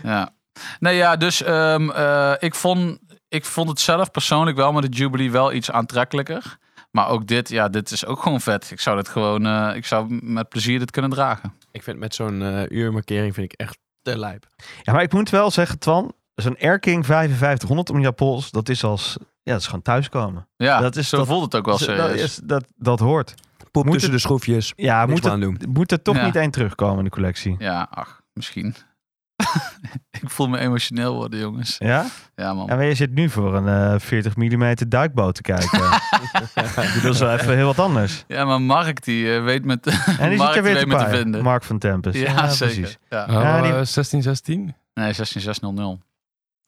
[SPEAKER 4] ja. Nee, ja, dus ehm, eh, ik, vond, ik vond het zelf persoonlijk wel met de Jubilee wel iets aantrekkelijker. Maar ook dit, ja, dit is ook gewoon vet. Ik zou dit gewoon, eh, ik zou met plezier dit kunnen dragen.
[SPEAKER 3] Ik vind met zo'n eh, uurmarkering vind ik echt te lijp.
[SPEAKER 2] ja, maar ik moet wel zeggen, Twan, zo'n Erking 5500 om je pols, dat is als, ja, dat is gewoon thuiskomen.
[SPEAKER 4] Ja,
[SPEAKER 2] Dat is
[SPEAKER 4] zo
[SPEAKER 2] dat-
[SPEAKER 4] voelt het ook wel
[SPEAKER 2] Dus,
[SPEAKER 4] serieus.
[SPEAKER 2] dat, is- dat, dat hoort.
[SPEAKER 3] Poep
[SPEAKER 2] Moet
[SPEAKER 3] tussen
[SPEAKER 2] het-
[SPEAKER 3] de schroefjes.
[SPEAKER 2] Ja,
[SPEAKER 3] Niks
[SPEAKER 2] moet
[SPEAKER 3] meer
[SPEAKER 2] er,
[SPEAKER 3] aan doen.
[SPEAKER 2] moet er toch
[SPEAKER 4] Ja.
[SPEAKER 2] niet één terugkomen in de collectie.
[SPEAKER 4] Ja, ach, misschien. ik voel me emotioneel worden, jongens.
[SPEAKER 2] Ja?
[SPEAKER 4] Ja, man.
[SPEAKER 2] En je zit nu voor een eh, 40 mm duikboot te kijken. Ik bedoel, dat is wel even heel wat anders.
[SPEAKER 4] Ja, maar Mark, die eh, weet met
[SPEAKER 2] En die zit
[SPEAKER 4] Mark
[SPEAKER 2] er weer
[SPEAKER 4] weet
[SPEAKER 2] te,
[SPEAKER 4] me te
[SPEAKER 2] paaien.
[SPEAKER 4] vinden.
[SPEAKER 2] Mark van Tempest.
[SPEAKER 4] ja, zeker. Ja.
[SPEAKER 6] Oh,
[SPEAKER 2] Ja, die-
[SPEAKER 6] eh, 16, 16?
[SPEAKER 4] Nee, 16600.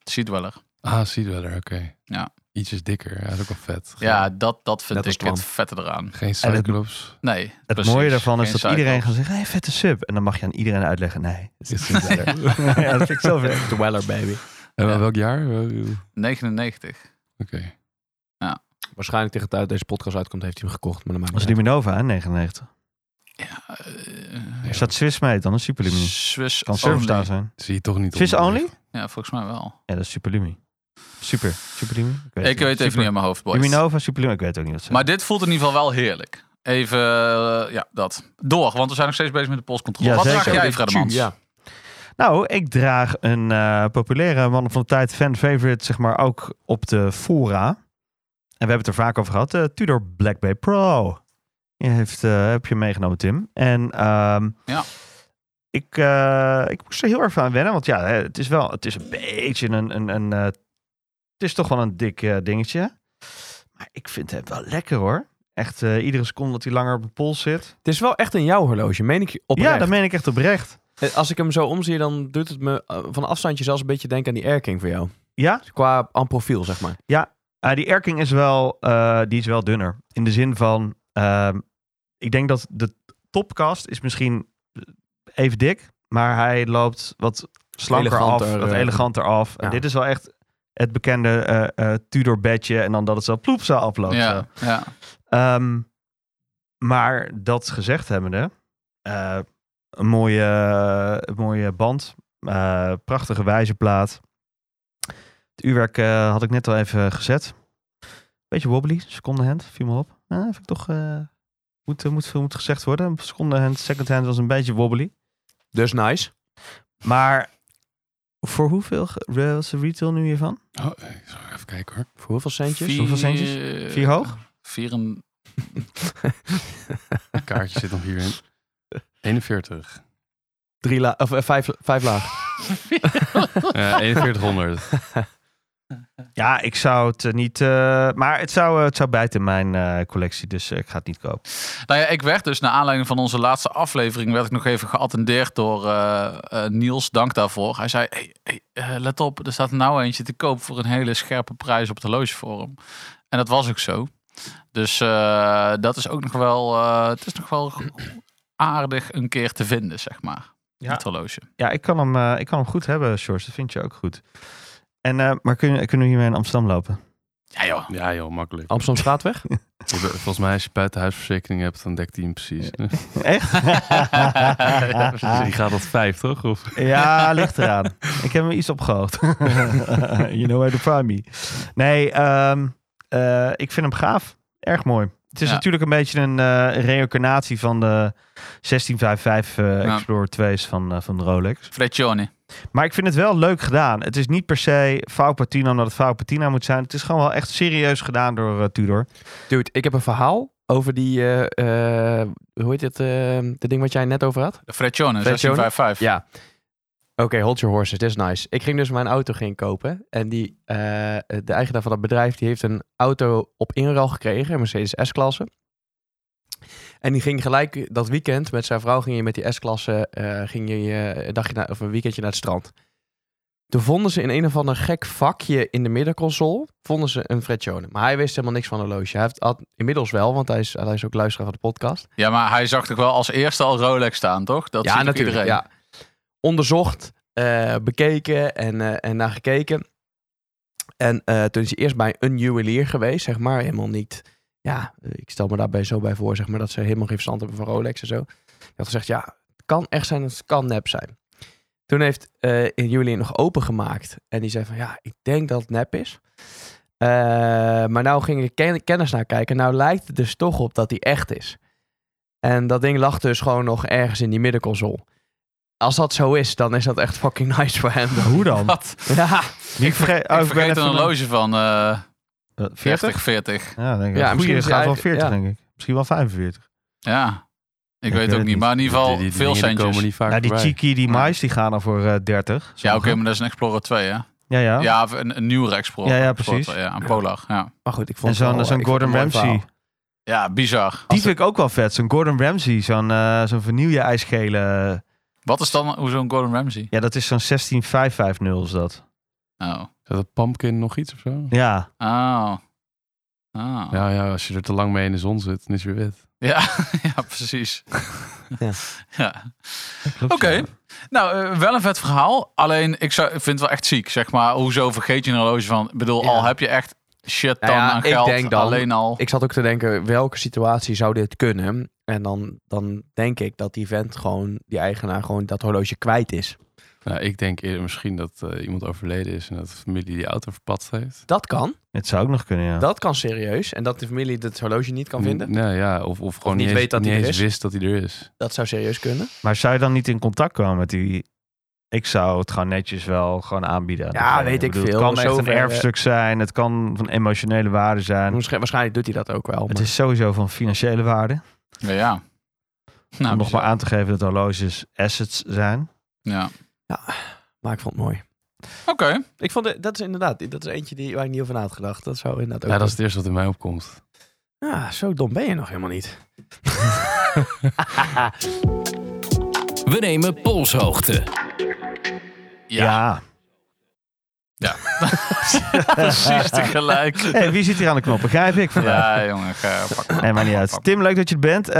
[SPEAKER 4] Ziet wel er.
[SPEAKER 6] Ah, Seedweller, oké.
[SPEAKER 4] Ja.
[SPEAKER 6] Ietsjes dikker, ja, dat is ook wel vet. Geen-
[SPEAKER 4] Ja, dat, dat vind
[SPEAKER 3] Net als
[SPEAKER 4] ik het
[SPEAKER 3] Twan.
[SPEAKER 4] vette eraan.
[SPEAKER 6] Geen Cyclops.
[SPEAKER 4] Nee,
[SPEAKER 2] Het
[SPEAKER 4] precies.
[SPEAKER 2] mooie daarvan is
[SPEAKER 4] Geen
[SPEAKER 2] dat
[SPEAKER 4] cycles.
[SPEAKER 2] iedereen gaat zeggen, hey, vette sub. En dan mag je aan iedereen uitleggen, nee, het is niet verder. ja, dat vind ik zo vet.
[SPEAKER 3] Dweller, baby.
[SPEAKER 6] En
[SPEAKER 4] Ja.
[SPEAKER 6] welk jaar? Wel- Oké.
[SPEAKER 4] 99.
[SPEAKER 3] Waarschijnlijk tegen het uit deze podcast uitkomt heeft hij hem gekocht. Maar dan maakt
[SPEAKER 2] Dat is
[SPEAKER 3] het niet
[SPEAKER 2] Luminova, hè, 99.
[SPEAKER 4] Ja,
[SPEAKER 2] Er
[SPEAKER 4] eh
[SPEAKER 2] staat Swiss mee dan, een superlumi.
[SPEAKER 4] Swiss
[SPEAKER 2] Kan
[SPEAKER 4] only.
[SPEAKER 2] Surfstar zijn.
[SPEAKER 6] Zie je toch niet
[SPEAKER 2] Swiss
[SPEAKER 6] onder-
[SPEAKER 2] only?
[SPEAKER 4] Ja, volgens mij wel.
[SPEAKER 2] Ja, dat is superlumi. Super. Superlumi?
[SPEAKER 4] Ik weet het even niet aan mijn hoofd, boys.
[SPEAKER 2] Luminova, superlumi, ik weet ook niet wat ze
[SPEAKER 4] Maar dit voelt in ieder geval wel heerlijk. Even, eh, ja, dat. Door, want we zijn nog steeds bezig met de postcontrole.
[SPEAKER 2] Ja,
[SPEAKER 4] Wat
[SPEAKER 2] zeker.
[SPEAKER 4] draag jij,
[SPEAKER 3] uit.
[SPEAKER 4] Fredemans?
[SPEAKER 3] Ja.
[SPEAKER 2] Nou, ik draag een eh, populaire man van de tijd, fan favorite, zeg maar ook op de fora. En we hebben het er vaak over gehad. eh, Tudor Black Bay Pro. Je heeft, eh, heb je meegenomen, Tim. En ehm,
[SPEAKER 4] Ja.
[SPEAKER 2] ik, eh, ik moest er heel erg aan wennen. Want ja, hè, het is wel het is een beetje een... een, een eh, het is toch wel een dik eh, dingetje. Maar ik vind het wel lekker hoor. Echt eh, iedere seconde dat hij langer op mijn pols zit.
[SPEAKER 3] Het is wel echt een jouw horloge, meen ik oprecht.
[SPEAKER 2] Ja, dat meen ik echt oprecht.
[SPEAKER 3] Eh, Als ik hem zo omzie, dan doet het me eh, van afstandje zelfs een beetje denken aan die Erking voor jou.
[SPEAKER 2] Ja?
[SPEAKER 3] Qua aan profiel, zeg maar.
[SPEAKER 2] Ah, die Erking is wel, eh, die is wel dunner. In de zin van, ehm, ik denk dat de topkast is misschien eh, even dik, maar hij loopt wat slanker af,
[SPEAKER 3] Eleganter,
[SPEAKER 2] wat
[SPEAKER 3] eh,
[SPEAKER 2] eleganter af. En
[SPEAKER 3] ja.
[SPEAKER 2] dit is wel echt het bekende eh, eh, Tudor bedje en dan dat het zo ploep zou aflopen.
[SPEAKER 4] Ja, ja.
[SPEAKER 2] Ehm, maar dat gezegd hebbende, eh, een, mooie, een mooie band, eh, prachtige wijzerplaat. Het uurwerk eh, had ik net al even gezet. Beetje wobbly, seconde hand, viel me op. Nou, vind ik toch, eh, moet, eh, moet, moet gezegd worden. Seconde hand, second hand was een beetje wobbly.
[SPEAKER 3] Dus nice.
[SPEAKER 2] Maar voor hoeveel ge- eh, was de retail nu hiervan?
[SPEAKER 6] Oh, ik zal even kijken hoor.
[SPEAKER 3] Voor hoeveel centjes?
[SPEAKER 4] Vier-
[SPEAKER 2] Hoeveel centjes?
[SPEAKER 4] Eh,
[SPEAKER 2] Vier hoog?
[SPEAKER 4] Vier en...
[SPEAKER 6] Het kaartje zit nog hierin. 41.
[SPEAKER 3] Drie la of, eh, vijf, vijf laag.
[SPEAKER 6] Eh 4100.
[SPEAKER 2] Ja, ik zou het eh, niet... eh, maar het zou, eh, het zou bijten in mijn eh, collectie, dus eh, ik ga het niet kopen.
[SPEAKER 4] Nou ja, ik werd dus naar aanleiding van onze laatste aflevering werd ik nog even geattendeerd door eh, eh, Niels. Dank daarvoor. Hij zei: hey, hey, eh, let op, er staat nou eentje te koop voor een hele scherpe prijs op de logeforum. En dat was ook zo. Dus eh, dat is ook nog wel, eh, het is nog wel aardig een keer te vinden, zeg maar.
[SPEAKER 2] Ja.
[SPEAKER 4] Het horloge.
[SPEAKER 2] Ja, ik kan hem, eh, ik kan hem goed hebben, Sjors. Dat vind je ook goed. En, eh, maar kun, je- kunnen we hiermee in Amsterdam lopen?
[SPEAKER 4] Ja joh.
[SPEAKER 6] Ja joh, makkelijk.
[SPEAKER 3] Amsterdam Straatweg?
[SPEAKER 6] Je be- Volgens mij als je buitenhuisverzekering hebt, dan dekt hij hem precies.
[SPEAKER 2] Echt?
[SPEAKER 6] Dus die gaat tot 5 toch? Of?
[SPEAKER 2] ja, ligt eraan. Ik heb hem iets opgehoogd. you know where to find me. Nee, ehm, eh, ik vind hem gaaf. Erg mooi. Het is
[SPEAKER 4] Ja.
[SPEAKER 2] natuurlijk een beetje een eh reïncarnatie van de 1655 eh
[SPEAKER 4] Ja.
[SPEAKER 2] Explorer 2's van, eh, van Rolex.
[SPEAKER 4] Freccione.
[SPEAKER 2] Maar ik vind het wel leuk gedaan. Het is niet per se fout patina omdat het fout patina moet zijn. Het is gewoon wel echt serieus gedaan door eh, Tudor.
[SPEAKER 3] Dude, ik heb een verhaal over die, eh, eh, hoe heet het, eh dat ding wat jij net over had?
[SPEAKER 4] De Freccione,
[SPEAKER 3] Freccione?
[SPEAKER 4] 1655.
[SPEAKER 3] Ja. Oké, hold your horses, dat is nice. Ik ging dus mijn auto ging kopen en die, eh, de eigenaar van dat bedrijf die heeft een auto op inruil gekregen, een Mercedes S-klasse. En die ging gelijk dat weekend met zijn vrouw ging je met die S-klasse eh, ging je eh, een dagje naar, of een weekendje naar het strand. Toen vonden ze in een of ander gek vakje in de middenconsole vonden ze een Freccione. Maar hij wist helemaal niks van een horloge. Hij heeft, had inmiddels wel, want hij is, hij is ook luisteraar van de podcast
[SPEAKER 4] Ja, maar hij zag toch wel als eerste al Rolex staan, toch? Dat ziet ook iedereen.
[SPEAKER 3] ja. Onderzocht, eh, bekeken en, eh, en naar gekeken. En eh, toen is hij eerst bij een juwelier geweest, zeg maar. Helemaal niet. Ja, eh, ik stel me daarbij zo bij voor, zeg maar, dat ze helemaal geen verstand hebben van Rolex en zo. Hij had gezegd, ja, het kan echt zijn, het kan nep zijn. Toen heeft eh een juwelier nog opengemaakt. En die zei van, ja, ik denk dat het nep is. Eh, maar nou ging ik ken- kennis naar kijken. Nou lijkt het dus toch op dat die echt is. En dat ding lag dus gewoon nog ergens in die middenconsole. Als dat zo is, dan is dat echt fucking nice voor hem.
[SPEAKER 2] Nou, Hoe dan?
[SPEAKER 4] Wat?
[SPEAKER 3] Ja,
[SPEAKER 2] Wie verge- oh,
[SPEAKER 4] Ik
[SPEAKER 2] ben
[SPEAKER 4] vergeet
[SPEAKER 2] even
[SPEAKER 4] een
[SPEAKER 2] de-
[SPEAKER 4] horloge van eh
[SPEAKER 2] Eh, 40?
[SPEAKER 4] 40, 40.
[SPEAKER 2] Ja, denk ik.
[SPEAKER 3] Ja,
[SPEAKER 2] Ja,
[SPEAKER 3] misschien
[SPEAKER 2] misschien
[SPEAKER 3] is hij
[SPEAKER 2] gaat wel
[SPEAKER 3] eigenlijk-
[SPEAKER 2] 40,
[SPEAKER 3] ja.
[SPEAKER 2] denk ik. Misschien wel 45.
[SPEAKER 4] Ja, ik, weet
[SPEAKER 2] weet
[SPEAKER 4] het ook
[SPEAKER 2] het
[SPEAKER 4] niet.
[SPEAKER 2] niet.
[SPEAKER 4] Maar in ieder
[SPEAKER 6] Die-
[SPEAKER 4] geval
[SPEAKER 6] die
[SPEAKER 4] veel
[SPEAKER 6] dingen die komen
[SPEAKER 4] centjes.
[SPEAKER 6] niet vaak
[SPEAKER 2] Nou, die
[SPEAKER 6] voorbij.
[SPEAKER 2] Chiki, die mais, die gaan dan voor eh, 30.
[SPEAKER 4] Ja, oké,
[SPEAKER 2] sommige.
[SPEAKER 4] maar dat is een Explorer 2, hè?
[SPEAKER 2] Ja, ja.
[SPEAKER 4] Ja, of een, een nieuwere Explorer.
[SPEAKER 2] Ja, ja,
[SPEAKER 4] Explorer
[SPEAKER 2] precies.
[SPEAKER 4] 2, ja, een Polar. Ja,
[SPEAKER 3] maar goed, ik vond
[SPEAKER 2] En
[SPEAKER 3] het
[SPEAKER 2] zo'n
[SPEAKER 3] wel-
[SPEAKER 2] zo'n
[SPEAKER 3] ik vond het
[SPEAKER 2] Gordon
[SPEAKER 3] een mooi
[SPEAKER 2] Ramsay.
[SPEAKER 3] verhaal.
[SPEAKER 4] ja bizar.
[SPEAKER 2] Die vind ik ook wel vet. Zo'n Gordon Ramsay. Zo'n eh, zo'n vernieuwde ijsgele. eh,
[SPEAKER 4] Wat is dan hoe zo'n Gordon Ramsay?
[SPEAKER 2] Ja, dat is zo'n 16550 is dat.
[SPEAKER 4] Oh.
[SPEAKER 6] Is dat een pumpkin nog iets of zo?
[SPEAKER 2] Ja.
[SPEAKER 4] Oh. Oh. Ja.
[SPEAKER 6] Ja, ja, als je er te lang mee in de zon zit, dan is het weer wit.
[SPEAKER 4] Ja, precies.
[SPEAKER 3] Ja.
[SPEAKER 4] ja. Oké. Nou, eh, wel een vet verhaal. Alleen, ik zou, ik vind het wel echt ziek, zeg maar. Hoezo vergeet je een horloge van... Ik bedoel,
[SPEAKER 3] Ja.
[SPEAKER 4] al heb je echt shit dan
[SPEAKER 3] Nou ja,
[SPEAKER 4] aan
[SPEAKER 3] ik
[SPEAKER 4] geld.
[SPEAKER 3] denk dan-
[SPEAKER 4] alleen al.
[SPEAKER 3] Ik zat ook te denken, welke situatie zou dit kunnen? En dan, dan denk ik dat die vent gewoon, die eigenaar gewoon dat horloge kwijt is.
[SPEAKER 6] Nou, ik denk eerder misschien dat eh, iemand overleden is en dat de familie die auto verpatst heeft.
[SPEAKER 3] Dat kan.
[SPEAKER 2] Het zou ook nog kunnen, ja.
[SPEAKER 3] Dat kan serieus. En dat de familie het horloge niet kan vinden.
[SPEAKER 6] Nou ja, of, of gewoon
[SPEAKER 3] niet
[SPEAKER 6] niet, eens-
[SPEAKER 3] weet dat
[SPEAKER 6] niet
[SPEAKER 3] hij er
[SPEAKER 6] eens
[SPEAKER 3] is.
[SPEAKER 6] wist dat hij er is.
[SPEAKER 3] Dat zou serieus kunnen.
[SPEAKER 2] Maar zou je dan niet in contact komen met die... Ik zou het gewoon netjes wel gewoon aanbieden. aan
[SPEAKER 3] Ja,
[SPEAKER 2] diegene.
[SPEAKER 3] weet ik veel.
[SPEAKER 2] Het kan echt een
[SPEAKER 3] Zover, Mm. eh,
[SPEAKER 2] erfstuk zijn. Het kan van emotionele waarde zijn.
[SPEAKER 3] Waarsch- waarschijnlijk doet hij dat ook wel.
[SPEAKER 2] Het
[SPEAKER 3] maar-
[SPEAKER 2] is sowieso van financiële waarde.
[SPEAKER 4] Ja, ja. Nou,
[SPEAKER 2] Om nog
[SPEAKER 4] bizar.
[SPEAKER 2] maar aan te geven dat horloges assets zijn.
[SPEAKER 4] Ja.
[SPEAKER 3] Maar ik vond het mooi.
[SPEAKER 4] Oké.
[SPEAKER 3] Ik vond het, dat is inderdaad, dat is eentje die, waar ik niet over na had gedacht. Dat zou inderdaad ook...
[SPEAKER 6] Ja, dat is het eerste wat in mij opkomt.
[SPEAKER 3] Ja, zo dom ben je nog helemaal niet.
[SPEAKER 5] We nemen polshoogte.
[SPEAKER 4] Ja. Precies tegelijk.
[SPEAKER 2] Hey, wie zit hier aan de knop? Begrijp ik vandaag.
[SPEAKER 4] Ja, jongen. eh, Ga, pak, pak,
[SPEAKER 2] Nee, maar niet
[SPEAKER 4] pak,
[SPEAKER 2] uit.
[SPEAKER 4] pak.
[SPEAKER 2] Tim, leuk dat je er bent. Eh,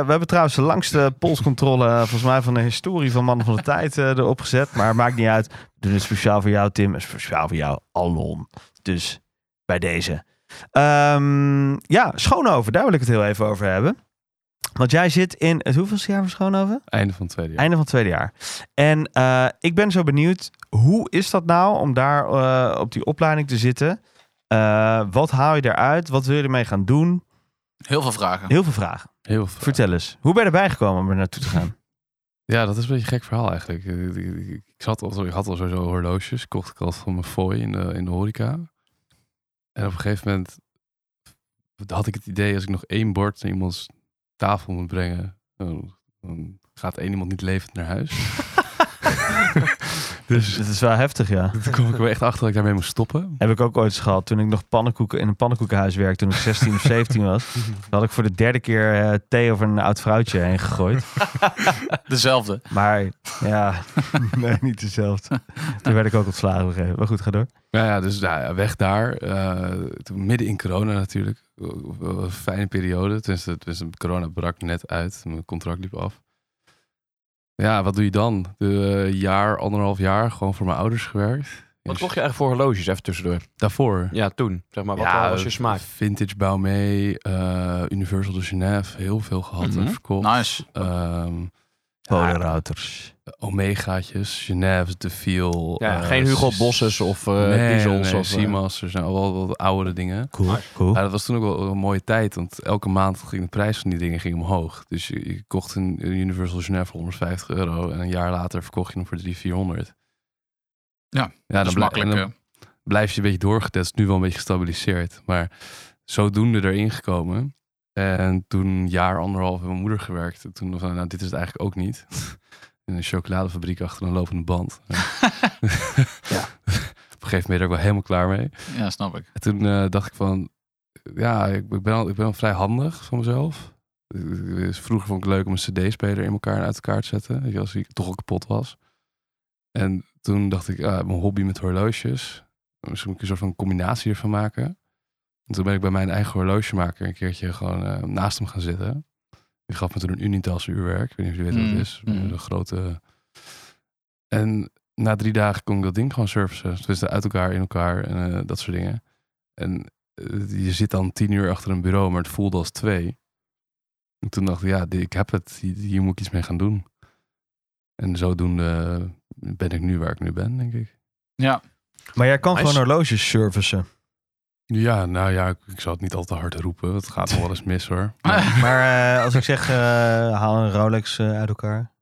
[SPEAKER 2] we hebben trouwens de langste polscontrole, eh, volgens mij, van de historie van Mannen van de Tijd eh, erop gezet. Maar maakt niet uit. We doen het speciaal voor jou, Tim. En speciaal voor jou, Alon. Dus bij deze. Ehm, ja, Schoonhoven, daar wil ik het heel even over hebben. Want jij zit in het hoeveelste jaar van Schoonhoven?
[SPEAKER 6] Einde van het tweede jaar.
[SPEAKER 2] Einde van het tweede jaar. En eh, ik ben zo benieuwd, hoe is dat nou om daar eh, op die opleiding te zitten? Eh, wat haal je daaruit? Wat wil je ermee gaan doen?
[SPEAKER 4] Heel veel vragen.
[SPEAKER 2] Heel veel vragen.
[SPEAKER 6] Heel veel.
[SPEAKER 2] Vertel eens, hoe ben je erbij gekomen om er naartoe te gaan?
[SPEAKER 6] Ja, dat is een beetje een gek verhaal eigenlijk. Eh, Ik, ik- ik zat al, ik had al sowieso horloges. Kocht ik al van mijn fooi in de, in de horeca. En op een gegeven moment had ik het idee... als ik nog één bord naar iemands tafel moet brengen... dan, dan gaat één iemand niet levend naar huis.
[SPEAKER 2] Dus het is wel heftig, ja.
[SPEAKER 6] Toen kwam ik er wel echt achter dat ik daarmee moest stoppen.
[SPEAKER 2] Heb ik ook ooit eens gehad toen ik nog pannenkoeken in een pannenkoekenhuis werkte toen ik 16 of 17 was. Toen had ik voor de derde keer eh, thee over een oud vrouwtje heen gegooid.
[SPEAKER 4] Dezelfde.
[SPEAKER 2] Maar ja, nee, niet dezelfde. Toen werd ik ook ontslagen op een gegeven moment. Maar goed, ga door.
[SPEAKER 6] Nou ja, dus nou ja, weg daar. Eh, toen, midden in corona natuurlijk. Wel Een fijne periode. Tenminste, tenminste, corona brak net uit. Mijn contract liep af. Ja, wat doe je dan? De eh, jaar, anderhalf jaar gewoon voor mijn ouders gewerkt.
[SPEAKER 3] Wat kocht
[SPEAKER 6] Dus
[SPEAKER 3] je eigenlijk voor horloges, even tussendoor?
[SPEAKER 6] Daarvoor.
[SPEAKER 3] Ja, eh, toen. Zeg maar, wat
[SPEAKER 6] Ja,
[SPEAKER 3] was je smaak?
[SPEAKER 6] Vintage Baumé, eh, Universal de Genève. Heel veel gehad en
[SPEAKER 4] Mhm.
[SPEAKER 6] verkocht.
[SPEAKER 4] Nice.
[SPEAKER 6] Ehm,
[SPEAKER 2] Polenrouters.
[SPEAKER 6] Omegaatjes, Genève's, De Viel.
[SPEAKER 3] Ja,
[SPEAKER 6] eh,
[SPEAKER 3] geen Hugo
[SPEAKER 6] S-
[SPEAKER 3] Bosses of eh
[SPEAKER 6] nee,
[SPEAKER 3] Diesels.
[SPEAKER 6] nee,
[SPEAKER 3] of, eh,
[SPEAKER 6] Seamasters. Nou, wel wel wat oudere dingen.
[SPEAKER 2] Cool, cool.
[SPEAKER 6] Ja, dat was toen ook wel een mooie tijd, want elke maand ging de prijs van die dingen ging omhoog. Dus je, je kocht een een Universal Genève voor 150 euro en een jaar later verkocht je hem voor 300, 400.
[SPEAKER 4] Ja,
[SPEAKER 6] ja
[SPEAKER 4] dat is
[SPEAKER 6] blij-
[SPEAKER 4] makkelijk.
[SPEAKER 6] en dan
[SPEAKER 4] eh.
[SPEAKER 6] blijf je een beetje doorgetest, nu wel een beetje gestabiliseerd. Maar zodoende erin gekomen. En toen een jaar, anderhalf, heeft mijn moeder gewerkt. En toen was van, nou, dit is het eigenlijk ook niet. In een chocoladefabriek achter een lopende band. Ja. Op een gegeven moment ben je er ook wel helemaal klaar mee.
[SPEAKER 4] Ja, snap ik.
[SPEAKER 6] En toen eh, dacht ik van, ja, ik ik ben, al, ik ben al vrij handig van mezelf. Eh, Vroeger vond ik het leuk om een cd-speler in elkaar en uit elkaar te zetten. Weet je, als hij toch al kapot was. En toen dacht ik, ah, mijn hobby met horloges. Misschien moet ik een soort van combinatie ervan maken. En toen ben ik bij mijn eigen horlogemaker een keertje gewoon eh, naast hem gaan zitten. Die gaf me toen een Unitas uurwerk. Ik weet niet of je weet wat
[SPEAKER 4] Mm,
[SPEAKER 6] het is.
[SPEAKER 4] mm.
[SPEAKER 6] Een grote... En na drie dagen kon ik dat ding gewoon servicen. Dus uit elkaar, in elkaar en eh, dat soort dingen. En eh, je zit dan tien uur achter een bureau, maar het voelde als twee. En toen dacht ik, ja, dit- ik heb het. Hier, hier moet ik iets mee gaan doen. En zodoende ben ik nu waar ik nu ben, denk ik.
[SPEAKER 4] Ja.
[SPEAKER 2] Maar jij kan
[SPEAKER 3] Nice.
[SPEAKER 2] gewoon horloges servicen.
[SPEAKER 6] Ja, nou ja, ik, ik zal het niet al te hard roepen. Het gaat nog wel eens mis hoor.
[SPEAKER 2] Maar eh, als ik zeg, eh, haal een Rolex eh, uit elkaar.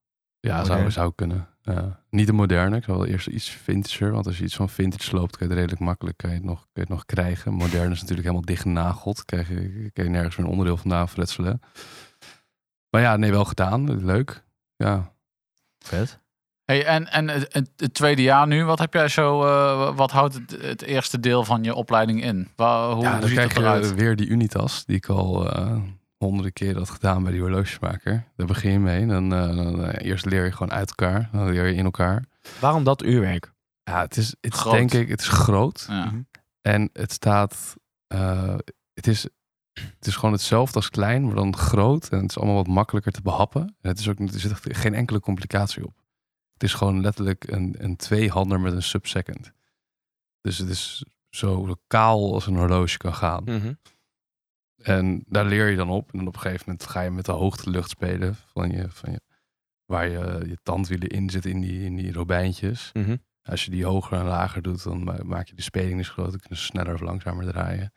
[SPEAKER 6] Ja, zou,
[SPEAKER 2] Modern.
[SPEAKER 6] zou kunnen. Ja. niet de moderne. Ik zou wel eerst iets vintager. Want als je iets van vintage loopt, kan je het redelijk makkelijk kan je het nog, kan je het nog krijgen. Modern is natuurlijk helemaal dichtgenageld. Krijg je, kan je nergens meer een onderdeel vandaan fretselen. Maar ja, nee, wel gedaan. Leuk. Ja.
[SPEAKER 2] Vet.
[SPEAKER 4] Hey, en en het, het- het tweede jaar nu, wat heb jij zo? eh, wat houdt het, het eerste deel van je opleiding in? Waar, hoe
[SPEAKER 6] ja,
[SPEAKER 4] hoe
[SPEAKER 6] dan
[SPEAKER 4] ziet
[SPEAKER 6] krijg
[SPEAKER 4] het
[SPEAKER 6] je eh,
[SPEAKER 4] eruit?
[SPEAKER 6] weer die Unitas, die ik al eh, honderden keren had gedaan bij die horlogemaker. Daar begin je mee. Dan, eh, dan, eh, eerst leer je gewoon uit elkaar, dan leer je in elkaar.
[SPEAKER 3] Waarom dat uurwerk?
[SPEAKER 6] Ja, het is, het is
[SPEAKER 4] Groot.
[SPEAKER 6] denk ik, het is groot.
[SPEAKER 4] Ja.
[SPEAKER 6] En het staat. eh, het, is, het is gewoon hetzelfde als klein, maar dan groot. En het is allemaal wat makkelijker te behappen. En het is ook, er zit echt geen enkele complicatie op. Het is gewoon letterlijk een, een tweehander met een subsecond. Dus het is zo kaal als een horloge kan gaan. En daar leer je dan op. En dan op een gegeven moment ga je met de hoogtelucht spelen. Van je, van je, waar je, je tandwielen in zitten in die, in die robijntjes.
[SPEAKER 3] Mhm.
[SPEAKER 6] Als je die hoger en lager doet, dan ma- maak je de speling dus groter. Kunnen ze sneller of langzamer draaien.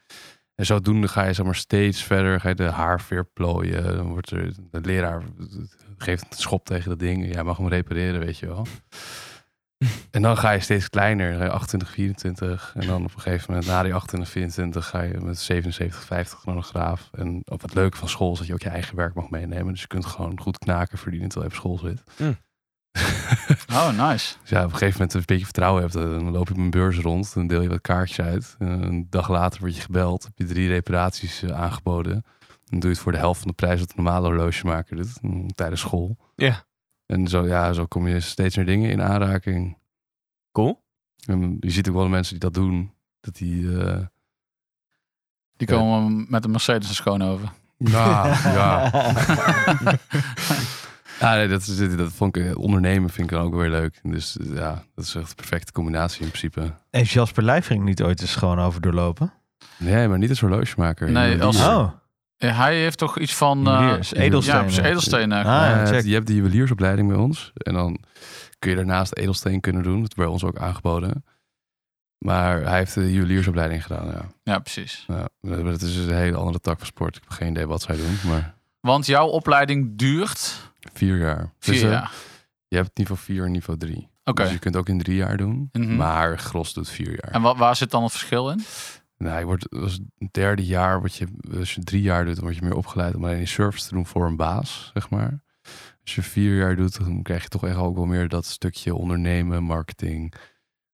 [SPEAKER 6] En zodoende ga je zeg maar, steeds verder. Ga je de haarveer plooien. Dan wordt er, de leraar geeft een schop tegen dat ding. Jij mag hem repareren, weet je wel. En dan ga je steeds kleiner, dan ga je 28, 24. En dan op een gegeven moment, na die 28, 24, ga je met 77, 50 chronograaf. En op het leuke van school is dat je ook je eigen werk mag meenemen. Dus je kunt gewoon goed knaken verdienen terwijl je op school zit.
[SPEAKER 3] Mm.
[SPEAKER 4] Oh, nice.
[SPEAKER 6] Dus ja, op een gegeven moment een beetje vertrouwen hebt, eh, dan loop je op een beurs rond, dan deel je wat kaartjes uit. En een dag later word je gebeld, heb je drie reparaties eh, aangeboden. Dan doe je het voor de helft van de prijs wat een normale horlogemaker doet, mm, tijdens school.
[SPEAKER 3] Ja.
[SPEAKER 6] En zo, ja, zo kom je steeds meer dingen in aanraking.
[SPEAKER 3] Cool.
[SPEAKER 6] En je ziet ook wel de mensen die dat doen, dat die... eh,
[SPEAKER 4] Die
[SPEAKER 6] Ja.
[SPEAKER 4] komen met een Mercedes naar Schoonhoven.
[SPEAKER 6] ja, ja. Ja, nee, dat, is, dat vond ik, eh, ondernemen vind ik dan ook weer leuk. Dus eh, ja, dat is echt een perfecte combinatie in principe.
[SPEAKER 2] Heeft Jasper Lijvering niet ooit eens gewoon over doorlopen?
[SPEAKER 6] Nee, maar niet als horlogemaker.
[SPEAKER 4] Nee,
[SPEAKER 6] Juwelier.
[SPEAKER 4] als-
[SPEAKER 6] Ja,
[SPEAKER 2] Oh,
[SPEAKER 4] Ja, hij heeft toch iets van. eh,
[SPEAKER 2] Juwelier, is edelstenen.
[SPEAKER 4] Ja, precies,
[SPEAKER 2] Ah,
[SPEAKER 4] edelstenen.
[SPEAKER 6] je hebt-
[SPEAKER 2] check.
[SPEAKER 6] Eh, je hebt de juweliersopleiding bij ons. En dan kun je daarnaast edelsteen kunnen doen. Dat is bij ons ook aangeboden. Maar hij heeft de juweliersopleiding gedaan, ja.
[SPEAKER 4] Ja, precies.
[SPEAKER 6] ja. maar Dat is dus een hele andere tak van sport. Ik heb geen idee wat zij doen, maar
[SPEAKER 4] Want jouw opleiding duurt
[SPEAKER 6] vier jaar.
[SPEAKER 4] vier
[SPEAKER 6] Dus, eh,
[SPEAKER 4] jaar.
[SPEAKER 6] Je hebt niveau 4 en niveau 3.
[SPEAKER 4] Oké.
[SPEAKER 6] Dus je kunt het ook in drie jaar doen.
[SPEAKER 4] Mhm.
[SPEAKER 6] Maar Gros doet vier jaar.
[SPEAKER 4] En wat, waar zit dan het verschil in?
[SPEAKER 6] Nou, je wordt als het derde jaar, wat je, als je drie jaar doet, dan word je meer opgeleid om alleen die service te doen voor een baas, zeg maar. Als je vier jaar doet, dan krijg je toch echt ook wel meer dat stukje ondernemen, marketing,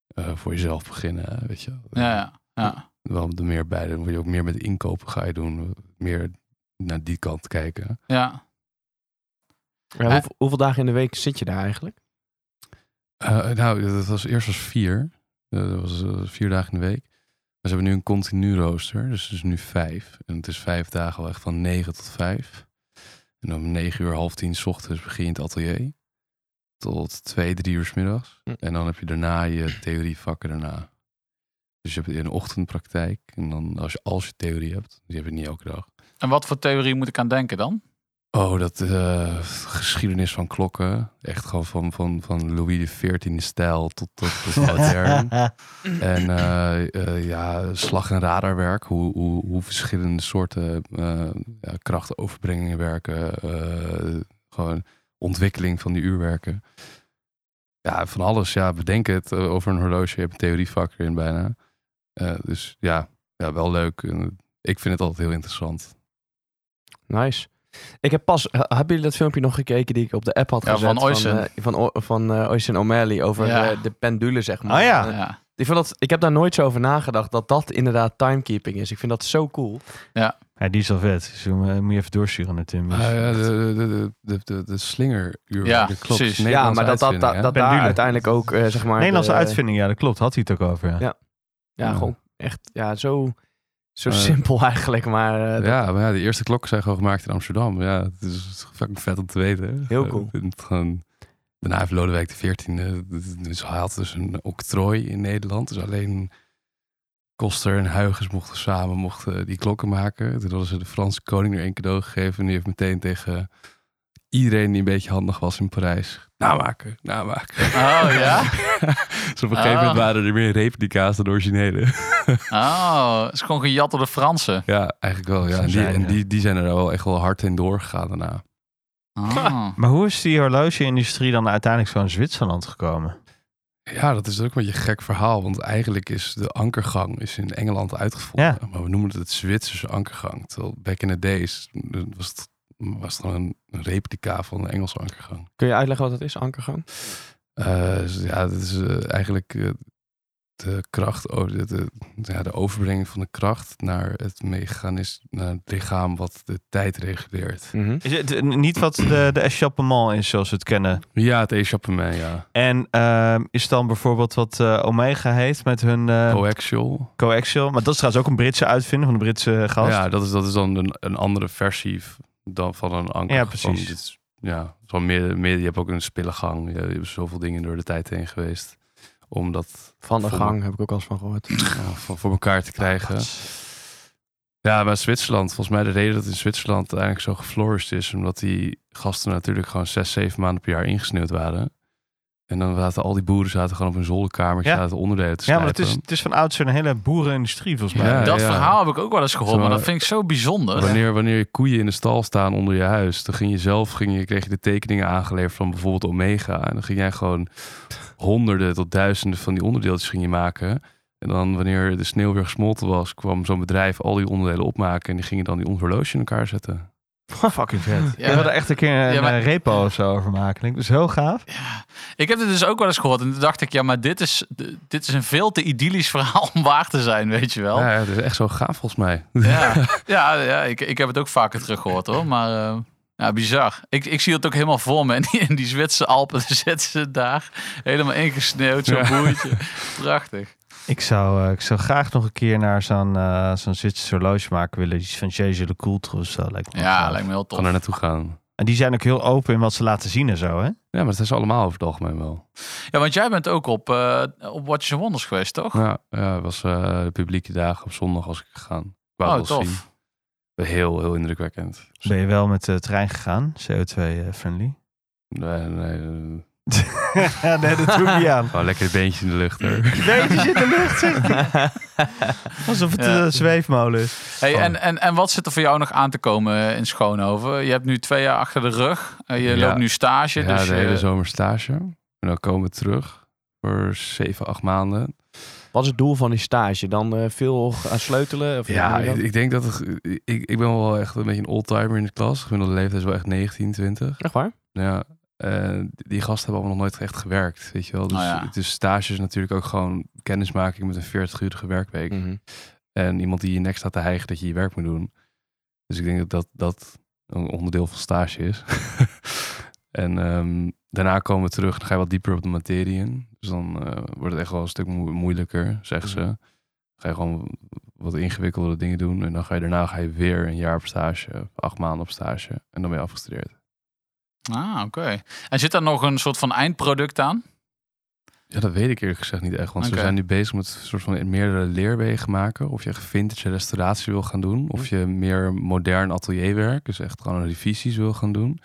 [SPEAKER 6] eh, voor jezelf beginnen, weet je. wel.
[SPEAKER 4] Ja, ja. ja.
[SPEAKER 6] Wel er meer bij, dan word je ook meer met inkopen ga je doen, meer naar die kant kijken.
[SPEAKER 4] ja.
[SPEAKER 3] Ja, hoeveel, hoeveel dagen in de week zit je daar eigenlijk?
[SPEAKER 6] Eh, nou, dat was eerst was vier, Eh, dat was eh, vier dagen in de week. Maar ze hebben nu een continu rooster, dus het is nu vijf. En het is vijf dagen wel echt van negen tot vijf. En om negen uur, half tien 's ochtends begin je in het atelier. Tot twee, drie uur 's middags.
[SPEAKER 3] Hm.
[SPEAKER 6] En dan heb je daarna je theorievakken daarna. Dus je hebt een ochtendpraktijk. En dan als je, als je theorie hebt, die heb je niet elke dag.
[SPEAKER 4] En wat voor theorie moet ik aan denken dan?
[SPEAKER 6] Oh, dat eh, geschiedenis van klokken. Echt gewoon van, van, van Louis XIV stijl tot, tot, tot modern. En eh, eh, ja, slag- en radarwerk, hoe, hoe, hoe verschillende soorten eh, ja, krachtenoverbrengingen werken, eh, gewoon ontwikkeling van die uurwerken. Ja, van alles. Ja, bedenk het eh, over een horloge. Je hebt een theorievak erin bijna. Eh, dus ja, ja, wel leuk. En Ik vind het altijd heel interessant.
[SPEAKER 3] Nice. Ik heb pas, he- hebben jullie dat filmpje nog gekeken die ik op de app had
[SPEAKER 4] Ja,
[SPEAKER 3] gezet?
[SPEAKER 4] van Oysen.
[SPEAKER 3] eh, Van, O- van, eh, Oysen O'Malley over
[SPEAKER 4] Ja.
[SPEAKER 3] eh, de pendule, zeg maar.
[SPEAKER 2] Oh ja.
[SPEAKER 6] Ah.
[SPEAKER 3] Eh,
[SPEAKER 4] Ja.
[SPEAKER 3] Ik, vind dat, ik heb daar nooit zo over nagedacht dat dat inderdaad timekeeping is. Ik vind dat zo cool.
[SPEAKER 2] ja, die is al vet. Dus, eh, moet je even doorsturen naar Tim. Dus-
[SPEAKER 6] Ah, ja, de, de, de, de, de slingeruurwerk.
[SPEAKER 4] Ja,
[SPEAKER 6] dat klopt.
[SPEAKER 4] precies.
[SPEAKER 3] Ja, maar dat, dat, dat,
[SPEAKER 6] Nederlandse
[SPEAKER 3] dat
[SPEAKER 6] uitvinding,
[SPEAKER 3] daar
[SPEAKER 2] Pendule.
[SPEAKER 3] uiteindelijk ook, eh, zeg maar...
[SPEAKER 2] Nederlandse
[SPEAKER 3] de-
[SPEAKER 2] uitvinding, ja, dat klopt. Had hij het ook over. Ja.
[SPEAKER 3] Ja. Ja,
[SPEAKER 6] Ja.
[SPEAKER 3] gewoon echt ja, zo, zo
[SPEAKER 6] Eh,
[SPEAKER 3] simpel eigenlijk, maar eh,
[SPEAKER 6] hè?
[SPEAKER 3] dat-
[SPEAKER 6] Ja, maar ja, de eerste klokken zijn gewoon gemaakt in Amsterdam. Ja, het is fucking vet om te weten. hè.
[SPEAKER 3] Heel cool.
[SPEAKER 6] Ik vind het gewoon Daarna heeft Lodewijk de 14e, dus hij had dus een octrooi in Nederland. Dus alleen Koster en Huygens mochten samen mochten die klokken maken. Toen hadden ze de Franse koning er één cadeau gegeven. En die heeft meteen tegen iedereen die een beetje handig was in Parijs... Namaken, namaken.
[SPEAKER 4] Oh ja?
[SPEAKER 6] Dus op een gegeven moment
[SPEAKER 4] Ah.
[SPEAKER 6] waren er meer replica's dan originele.
[SPEAKER 4] Oh, het is gewoon gejat door de Fransen.
[SPEAKER 6] Ja, eigenlijk wel. Ja.
[SPEAKER 2] Zo
[SPEAKER 6] En, die,
[SPEAKER 2] zijn,
[SPEAKER 6] en
[SPEAKER 2] ja.
[SPEAKER 6] die, die zijn er wel echt wel hard in doorgegaan daarna.
[SPEAKER 4] Ah.
[SPEAKER 2] Maar hoe is die horloge-industrie dan uiteindelijk zo in Zwitserland gekomen?
[SPEAKER 6] Ja, dat is ook een beetje een gek verhaal. Want eigenlijk is de ankergang is in Engeland uitgevonden. Maar we noemen het het Zwitserse ankergang. Terwijl back in the days eh, was het, was het dan een een replica van de Engelse ankergang.
[SPEAKER 3] Kun je uitleggen wat dat is, ankergang?
[SPEAKER 6] Eh, dus ja, dat is eh, eigenlijk eh, de kracht, o- de, de- ja, de overbrenging van de kracht naar het mechanisme, naar het lichaam wat de tijd reguleert.
[SPEAKER 3] Mhm.
[SPEAKER 2] Is het eh, niet wat de, de échappement is zoals we het kennen?
[SPEAKER 6] Ja, het échappement, ja.
[SPEAKER 2] En ehm, is dan bijvoorbeeld wat eh, Omega heeft met hun eh,
[SPEAKER 6] Oh. Coaxial.
[SPEAKER 2] coaxial. Maar dat is trouwens ook een Britse uitvinder van de Britse gast.
[SPEAKER 6] Ja, dat is, dat is dan een, een andere versie v- dan van een anker.
[SPEAKER 2] Ja, precies.
[SPEAKER 6] Van, dit is- ja, van meer, meer, je hebt ook een spillengang. Je, je hebt zoveel dingen door de tijd heen geweest. Om dat
[SPEAKER 3] Van de
[SPEAKER 6] Van-
[SPEAKER 3] gang heb ik ook al eens van gehoord.
[SPEAKER 6] ja, voor, voor elkaar te krijgen. Ja, maar Zwitserland, volgens mij de reden dat in Zwitserland eigenlijk zo geflourished is, omdat die gasten natuurlijk gewoon zes, zeven maanden per jaar ingesneeuwd waren. En dan zaten al die boeren zaten gewoon op hun zolderkamer,
[SPEAKER 2] Ja.
[SPEAKER 6] zaten onderdelen te
[SPEAKER 2] Ja, maar
[SPEAKER 6] snijpen.
[SPEAKER 2] het is, het is van oudsher een hele boerenindustrie volgens mij.
[SPEAKER 6] Ja,
[SPEAKER 4] Dat verhaal heb ik ook wel eens gehoord, maar
[SPEAKER 6] Zo'n-
[SPEAKER 4] dat vind ik zo bijzonder.
[SPEAKER 6] Wanneer, wanneer je koeien in de stal staan onder je huis, dan ging je zelf, ging je, kreeg je de tekeningen aangeleverd van bijvoorbeeld Omega. En dan ging jij gewoon honderden tot duizenden van die onderdeeltjes ging je maken. En dan wanneer de sneeuw weer gesmolten was, kwam zo'n bedrijf al die onderdelen opmaken en die gingen dan die ons horloge in elkaar zetten.
[SPEAKER 2] Fucking vet.
[SPEAKER 4] Ja.
[SPEAKER 2] Ik wil er echt een keer een
[SPEAKER 4] Ja, maar-
[SPEAKER 2] eh, repo of zo over maken. Klinkt dus heel gaaf.
[SPEAKER 4] Ik heb dit dus ook wel eens gehoord en toen dacht ik, ja, maar dit is, dit is een veel te idyllisch verhaal om waar te zijn, weet je wel.
[SPEAKER 6] Ja, ja, dat is echt zo gaaf volgens mij.
[SPEAKER 4] Ja, ja, ja ik, ik heb het ook vaker teruggehoord hoor. Maar eh, ja, bizar. Ik, ik zie het ook helemaal voor me. En die, in die Zwitserse Alpen daar zitten ze daar. Helemaal ingesneeuwd, zo'n boertje. Prachtig.
[SPEAKER 2] Ik zou, eh, ik zou graag nog een keer naar zo'n eh zo'n Zwitserse horloge maken willen. Iets van Jeje Le Coultre of zo. Lijkt me wel
[SPEAKER 4] Ja,
[SPEAKER 2] gaaf.
[SPEAKER 4] lijkt me heel
[SPEAKER 6] Kan
[SPEAKER 4] tof.
[SPEAKER 6] er naartoe gaan.
[SPEAKER 2] En die zijn ook heel open in wat ze laten zien en zo, hè?
[SPEAKER 6] Ja, maar dat is allemaal over het algemeen wel.
[SPEAKER 4] Ja, want jij bent ook op, eh op Watches and Wonders geweest, toch?
[SPEAKER 6] Ja, ja het was eh, de publieke dagen op zondag was ik gegaan. Ik wou
[SPEAKER 4] Oh,
[SPEAKER 6] het wel
[SPEAKER 4] tof.
[SPEAKER 6] zien. Heel, heel indrukwekkend.
[SPEAKER 2] Ben je wel met de trein gegaan? CO2-friendly?
[SPEAKER 6] Nee, nee, eh,
[SPEAKER 2] nee, dat doe ik niet aan.
[SPEAKER 6] gewoon lekker het beentje in de lucht. hoor.
[SPEAKER 2] Nee, die zit in de lucht, zegt hij. Alsof het
[SPEAKER 4] Ja.
[SPEAKER 2] een zweefmolen is.
[SPEAKER 6] Oh.
[SPEAKER 4] Hey, en, en, en wat zit er voor jou nog aan te komen in Schoonhoven? Je hebt nu twee jaar achter de rug. Eh, je
[SPEAKER 6] Ja.
[SPEAKER 4] loopt nu stage.
[SPEAKER 6] Ja,
[SPEAKER 4] dus
[SPEAKER 6] de
[SPEAKER 4] je-
[SPEAKER 6] hele zomer stage. En dan komen we terug voor 7, 8 maanden.
[SPEAKER 3] Wat is het doel van die stage? Dan eh, veel gaan sleutelen? Of hoe
[SPEAKER 6] Ja,
[SPEAKER 3] doe
[SPEAKER 6] ik,
[SPEAKER 3] je dat?
[SPEAKER 6] ik denk dat het- ik, ik ben wel echt een beetje een oldtimer in de klas. Gemiddelde leeftijd is wel echt 19, 20.
[SPEAKER 3] echt waar?
[SPEAKER 6] Ja, eh, die gasten hebben allemaal nog nooit echt gewerkt, weet je wel. Dus,
[SPEAKER 4] Oh ja.
[SPEAKER 6] dus stage is natuurlijk ook gewoon kennismaking met een 40-urige werkweek.
[SPEAKER 3] Mhm.
[SPEAKER 6] En iemand die je nek staat te hijgen dat je je werk moet doen. Dus ik denk dat dat, dat een onderdeel van stage is. en ehm, daarna komen we terug, dan ga je wat dieper op de materie in. Dus dan eh, wordt het echt wel een stuk moe- moeilijker, zegt ze. Dan ga je gewoon wat ingewikkeldere dingen doen. En dan ga je daarna ga je weer een jaar op stage, acht maanden op stage. En dan ben je afgestudeerd.
[SPEAKER 4] Ah, oké. En zit daar nog een soort van eindproduct aan?
[SPEAKER 6] Ja, dat weet ik eerlijk gezegd niet echt. Want
[SPEAKER 4] Oké.
[SPEAKER 6] ze zijn nu bezig met een soort van meerdere leerwegen maken. Of je echt vintage restauratie wil gaan doen. Of je meer modern atelierwerk, dus echt gewoon revisies wil gaan doen.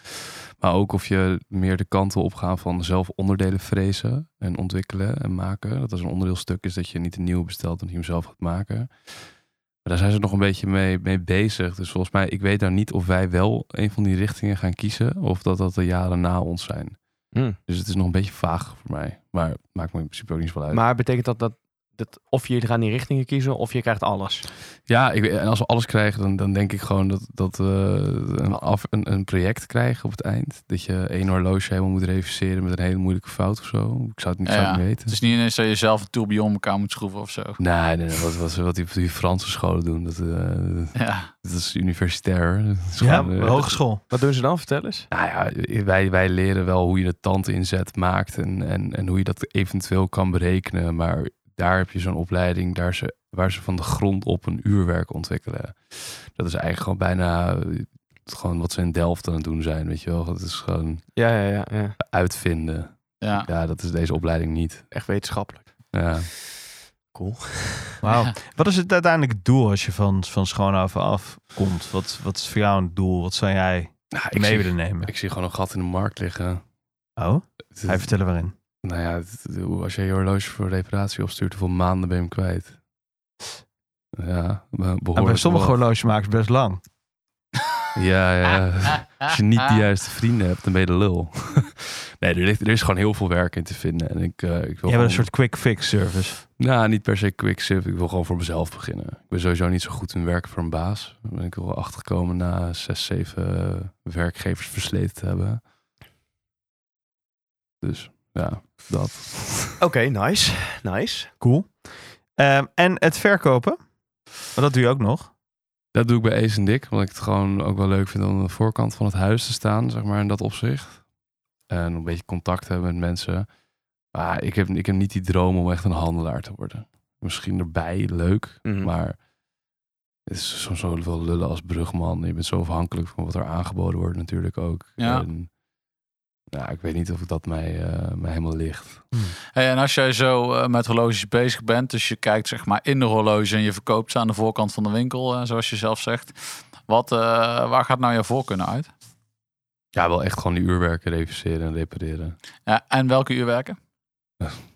[SPEAKER 6] Maar ook of je meer de kanten opgaan van zelf onderdelen frezen en ontwikkelen en maken. Dat als een onderdeelstuk is dat je niet een nieuw bestelt, maar dat je hem zelf gaat maken. Maar daar zijn ze nog een beetje mee, mee bezig. Dus volgens mij, ik weet daar niet of wij wel een van die richtingen gaan kiezen. Of dat dat de jaren na ons zijn.
[SPEAKER 4] Hmm.
[SPEAKER 6] Dus het is nog een beetje vaag voor mij. Maar maakt me in principe ook niet zoveel uit.
[SPEAKER 3] Maar betekent dat, dat dat of je gaat in die richtingen kiezen of je krijgt alles?
[SPEAKER 6] ja, ik, en als we alles krijgen, dan, dan denk ik gewoon dat, dat we een, af, een, een project krijgen op het eind. Dat je één horloge helemaal moet reviseren met een hele moeilijke fout of zo. Ik zou het niet,
[SPEAKER 4] Ja,
[SPEAKER 6] zou het
[SPEAKER 4] ja.
[SPEAKER 6] niet
[SPEAKER 4] Het
[SPEAKER 6] weten.
[SPEAKER 4] is niet ineens dat je zelf een tourbillon om elkaar moet schroeven of zo.
[SPEAKER 6] Nee, nee, nee, wat, wat, wat die, die Franse scholen doen, dat, eh,
[SPEAKER 4] Ja.
[SPEAKER 6] dat is universitair. Dat is
[SPEAKER 2] Ja,
[SPEAKER 6] gewoon, eh,
[SPEAKER 2] hogeschool.
[SPEAKER 3] Wat doen ze dan? Vertel eens.
[SPEAKER 6] Nou ja, wij, wij leren wel hoe je de tandinzet maakt en, en, en hoe je dat eventueel kan berekenen. Maar daar heb je zo'n opleiding daar ze, waar ze van de grond op een uurwerk ontwikkelen. Dat is eigenlijk gewoon bijna eh, gewoon wat ze in Delft aan het doen zijn, weet je wel. Dat is gewoon
[SPEAKER 3] Ja, ja, ja, ja.
[SPEAKER 6] uitvinden.
[SPEAKER 4] Ja.
[SPEAKER 6] Ja, dat is deze opleiding niet.
[SPEAKER 3] Echt wetenschappelijk.
[SPEAKER 6] Ja.
[SPEAKER 3] Cool.
[SPEAKER 2] Wauw.
[SPEAKER 4] Ja.
[SPEAKER 2] Wat is het uiteindelijk het doel als je van, van schoonhouden afkomt? Wat, wat is voor jou een doel? Wat zou jij
[SPEAKER 6] Nou, ik,
[SPEAKER 2] mee
[SPEAKER 6] zie,
[SPEAKER 2] willen nemen?
[SPEAKER 6] ik zie gewoon een gat in de markt liggen.
[SPEAKER 2] Oh,
[SPEAKER 6] Het-
[SPEAKER 2] hij vertellen waarin.
[SPEAKER 6] Nou ja, het- het- hoe- als jij je horloge voor reparatie opstuurt, hoeveel maanden ben je hem kwijt? Ja, be-
[SPEAKER 2] En
[SPEAKER 6] behoorlijk.
[SPEAKER 2] bij sommige
[SPEAKER 6] wat.
[SPEAKER 2] horlogemakers best lang.
[SPEAKER 6] Ja, ja. Eh, Als je niet de juiste vrienden hebt, dan ben je de lul. nee, er, ligt, er is gewoon heel veel werk in te vinden. En ik, eh, ik wil
[SPEAKER 2] Je hebt een
[SPEAKER 6] gewoon-
[SPEAKER 2] soort quick fix service.
[SPEAKER 6] Nou, niet per se quick shift. Ik wil gewoon voor mezelf beginnen. Ik ben sowieso niet zo goed in werken voor een baas. Daar ben ik er wel achtergekomen na zes, zeven werkgevers versleten te hebben. Dus ja, dat.
[SPEAKER 3] Oké, nice. Nice.
[SPEAKER 2] Cool. Ehm, en het verkopen. Maar dat doe je ook nog.
[SPEAKER 6] Dat doe ik bij Ace en Dick, omdat ik het gewoon ook wel leuk vind om aan de voorkant van het huis te staan, zeg maar, in dat opzicht. En een beetje contact hebben met mensen. Maar ik heb, ik heb niet die droom om echt een handelaar te worden. Misschien erbij, leuk,
[SPEAKER 3] Mhm.
[SPEAKER 6] maar het is soms wel wel lullen als brugman. Je bent zo afhankelijk van wat er aangeboden wordt natuurlijk ook.
[SPEAKER 4] Ja.
[SPEAKER 6] En, nou, ik weet niet of dat mij, eh, mij helemaal ligt.
[SPEAKER 4] Hey, en als jij zo eh, met horloges bezig bent, dus je kijkt zeg maar in de horloge en je verkoopt ze aan de voorkant van de winkel, eh, zoals je zelf zegt. Wat, eh, waar gaat nou je voorkeur uit?
[SPEAKER 6] Ja, wel echt gewoon die uurwerken reviseren en repareren.
[SPEAKER 4] Ja, en welke uurwerken?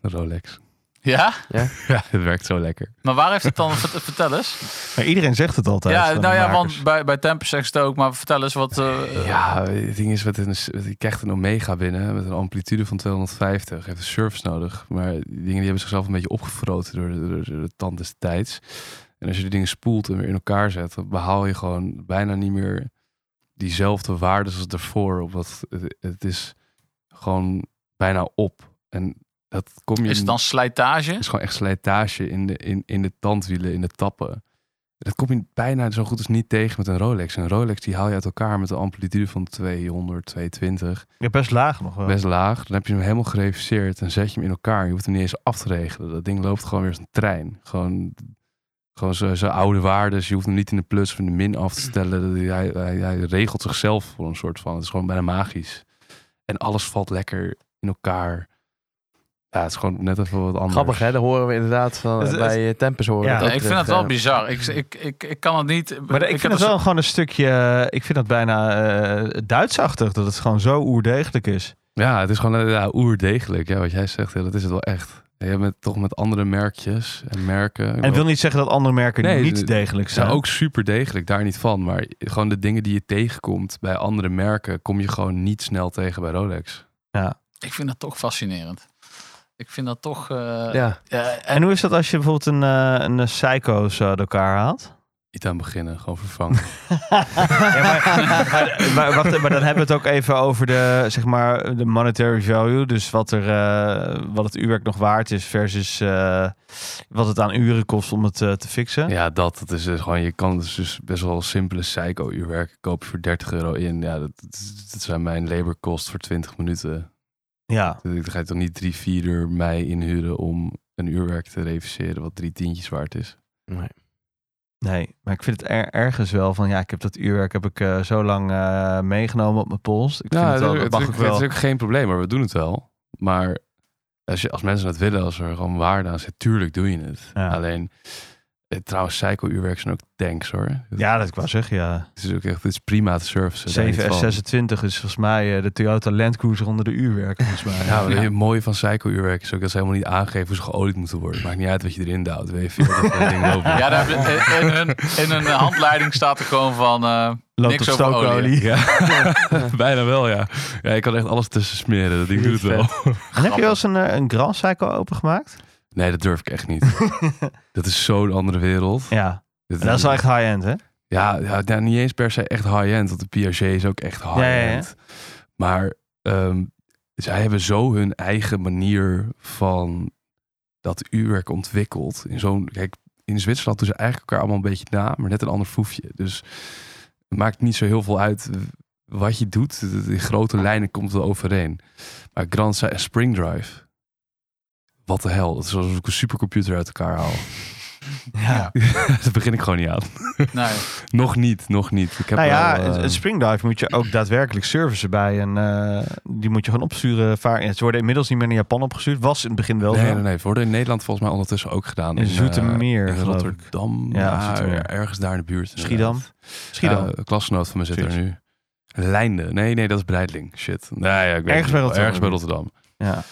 [SPEAKER 6] Rolex.
[SPEAKER 4] Ja?
[SPEAKER 6] Ja, het werkt zo lekker.
[SPEAKER 4] Maar waar heeft het dan? vert- vertel eens.
[SPEAKER 2] Maar iedereen zegt het altijd.
[SPEAKER 4] Ja,
[SPEAKER 2] van
[SPEAKER 4] nou ja,
[SPEAKER 2] makers.
[SPEAKER 4] want bij, bij Tempus zegt het ook, maar vertel eens wat... eh,
[SPEAKER 6] Ja, het ding is, met een, met- je krijgt een Omega binnen met een amplitude van 250. Je hebt een service nodig. Maar die dingen die hebben zichzelf een beetje opgefroten door de, door de tand des tijds. En als je die dingen spoelt en weer in elkaar zet, dan behaal je gewoon bijna niet meer diezelfde waarden als daarvoor. Omdat het, het is gewoon bijna op. En dat kom je
[SPEAKER 4] Is het dan slijtage?
[SPEAKER 6] is gewoon echt slijtage in de, in, in de tandwielen, in de tappen. Dat kom je bijna zo goed als niet tegen met een Rolex. Een Rolex die haal je uit elkaar met een amplitude van 200, 220.
[SPEAKER 2] Ja, best laag nog wel.
[SPEAKER 6] Best laag. Dan heb je hem helemaal gereviseerd en zet je hem in elkaar. Je hoeft hem niet eens af te regelen. Dat ding loopt gewoon weer als een trein. Gewoon, gewoon zijn zijn oude waardes. Je hoeft hem niet in de plus of in de min af te stellen. Dat- Hij, hij, hij regelt zichzelf voor een soort van. Het is gewoon bijna magisch. En alles valt lekker in elkaar. Ja, het is gewoon net even wat anders.
[SPEAKER 3] Grappig, hè? Dat horen we inderdaad van,
[SPEAKER 2] Het is-
[SPEAKER 3] bij eh, Tempus horen.
[SPEAKER 2] Ja.
[SPEAKER 3] we
[SPEAKER 4] Ja,
[SPEAKER 3] dat
[SPEAKER 4] ik vind
[SPEAKER 3] terug,
[SPEAKER 4] het wel
[SPEAKER 3] eh.
[SPEAKER 4] bizar. Ik, ik, ik, ik kan het niet...
[SPEAKER 2] Maar ik,
[SPEAKER 4] heb
[SPEAKER 2] vind het
[SPEAKER 4] een
[SPEAKER 2] wel gewoon een stukje, eh, ik vind dat bijna eh, Duitsachtig, dat het gewoon zo oerdegelijk is.
[SPEAKER 6] Ja, het is gewoon eh, ja, oerdegelijk. Ja, wat jij zegt, ja, dat is het wel echt. Je hebt het toch met andere merkjes en merken. Ik
[SPEAKER 2] En
[SPEAKER 6] bedoel,
[SPEAKER 2] wil niet zeggen dat andere merken
[SPEAKER 6] Nee,
[SPEAKER 2] niet
[SPEAKER 6] het-
[SPEAKER 2] degelijk
[SPEAKER 6] ze
[SPEAKER 2] zijn.
[SPEAKER 6] zijn ook super degelijk, daar niet van. Maar gewoon de dingen die je tegenkomt bij andere merken, kom je gewoon niet snel tegen bij Rolex.
[SPEAKER 4] Ik vind dat toch fascinerend. Ik vind dat toch... eh,
[SPEAKER 3] Ja.
[SPEAKER 4] ja, en,
[SPEAKER 2] En hoe is dat als je bijvoorbeeld een, eh een eh, Seiko's eh, uit elkaar haalt?
[SPEAKER 6] Niet aan beginnen, gewoon vervangen.
[SPEAKER 2] Ja, maar, maar, maar wacht, maar dan hebben we het ook even over de, zeg maar, de monetary value. Dus wat, er, eh, wat het uurwerk nog waard is versus eh, wat het aan uren kost om het eh, te fixen.
[SPEAKER 6] ja, dat, dat is dus gewoon, je kan dus, dus best wel simpele Seiko-uurwerken kopen voor 30 euro in. Ja, dat, dat- dat zijn mijn laborkost voor 20 minuten.
[SPEAKER 2] Ja.
[SPEAKER 6] Dan ga je toch niet drie, vier uur mij inhuren om een uurwerk te reviseren wat drie tientjes waard is.
[SPEAKER 3] Nee.
[SPEAKER 2] Nee, maar ik vind het er- ergens wel van ja, ik heb dat uurwerk heb ik eh, zo lang eh, meegenomen op mijn pols. Ik vind het wel, dat
[SPEAKER 6] het,
[SPEAKER 2] mag
[SPEAKER 6] is-
[SPEAKER 2] ik
[SPEAKER 6] het
[SPEAKER 2] wel.
[SPEAKER 6] is ook geen probleem, maar we doen het wel. Maar als, je, als mensen dat willen, als er gewoon waarde aan zit, tuurlijk doe je het.
[SPEAKER 2] Ja.
[SPEAKER 6] Alleen, eh, trouwens, Psycho-uurwerk zijn ook tanks hoor.
[SPEAKER 2] Ja, dat ik wel zeg, ja.
[SPEAKER 6] Het is ook echt het is prima te servicen. daar niet van.
[SPEAKER 2] 7S26 is volgens mij eh, de Toyota Land Cruiser onder de uurwerken, volgens mij.
[SPEAKER 6] Ja, maar het mooie van Psycho-uurwerk is ook dat ze helemaal niet aangeven hoe ze geolied moeten worden. Maakt niet uit wat je erin duwt. Weet je veel dat dat ding lopen.
[SPEAKER 4] ja, daar heb je- in, in, hun, in hun handleiding staat er gewoon van... eh,
[SPEAKER 2] Loopt
[SPEAKER 4] niks
[SPEAKER 2] op
[SPEAKER 4] over olie.
[SPEAKER 2] stookolie.
[SPEAKER 6] Ja. bijna wel ja. Ja, ik kan echt alles tussen smeren. Dat ding doet het wel.
[SPEAKER 2] En heb je wel eens een, eh, een Grand Cycle opengemaakt?
[SPEAKER 6] Nee, dat durf ik echt niet. dat is zo'n andere wereld.
[SPEAKER 2] Ja, en dat is wel echt high-end, hè?
[SPEAKER 6] Ja, ja nou, niet eens per se echt high-end. Want de Piaget is ook echt
[SPEAKER 2] ja, ja.
[SPEAKER 6] high-end. Maar ehm, zij hebben zo hun eigen manier van dat uurwerk ontwikkeld. In zo'n, kijk, in Zwitserland doen ze eigenlijk elkaar allemaal een beetje na, maar net een ander foefje. Dus het maakt niet zo heel veel uit wat je doet. In grote lijnen komt het wel overeen. Maar Grand Spring Drive. Wat de hel. Het is alsof ik een supercomputer uit elkaar haal.
[SPEAKER 2] Ja.
[SPEAKER 6] Daar begin ik gewoon niet aan.
[SPEAKER 4] Nee.
[SPEAKER 6] Nog niet, nog niet. Ik heb
[SPEAKER 2] Nou ja,
[SPEAKER 6] wel, eh,
[SPEAKER 2] een- een springdive moet je ook daadwerkelijk servicen bij. En eh, die moet je gewoon opsturen. Vaar- en Ze worden inmiddels niet meer naar Japan opgestuurd. Was in het begin wel
[SPEAKER 6] Oh, Nee,
[SPEAKER 2] zo.
[SPEAKER 6] nee, nee. Het Worden in Nederland volgens mij ondertussen ook gedaan.
[SPEAKER 2] In
[SPEAKER 6] eh,
[SPEAKER 2] Zoetermeer,
[SPEAKER 6] in
[SPEAKER 2] geloof ik.
[SPEAKER 6] Rotterdam.
[SPEAKER 2] Ja,
[SPEAKER 6] Ja,
[SPEAKER 2] Zoetermeer.
[SPEAKER 6] ergens daar in de buurt.
[SPEAKER 2] Schiedam. Schiedam.
[SPEAKER 6] Ja, een klasgenoot van me zit er
[SPEAKER 2] Zoiets.
[SPEAKER 6] nu. Leinde. Nee, nee, dat is Breidling. Shit. Nee, ja, ik weet
[SPEAKER 2] Ergens
[SPEAKER 6] het
[SPEAKER 2] bij
[SPEAKER 6] niet.
[SPEAKER 2] Rotterdam.
[SPEAKER 6] Ergens bij Rotterdam.
[SPEAKER 2] Ja.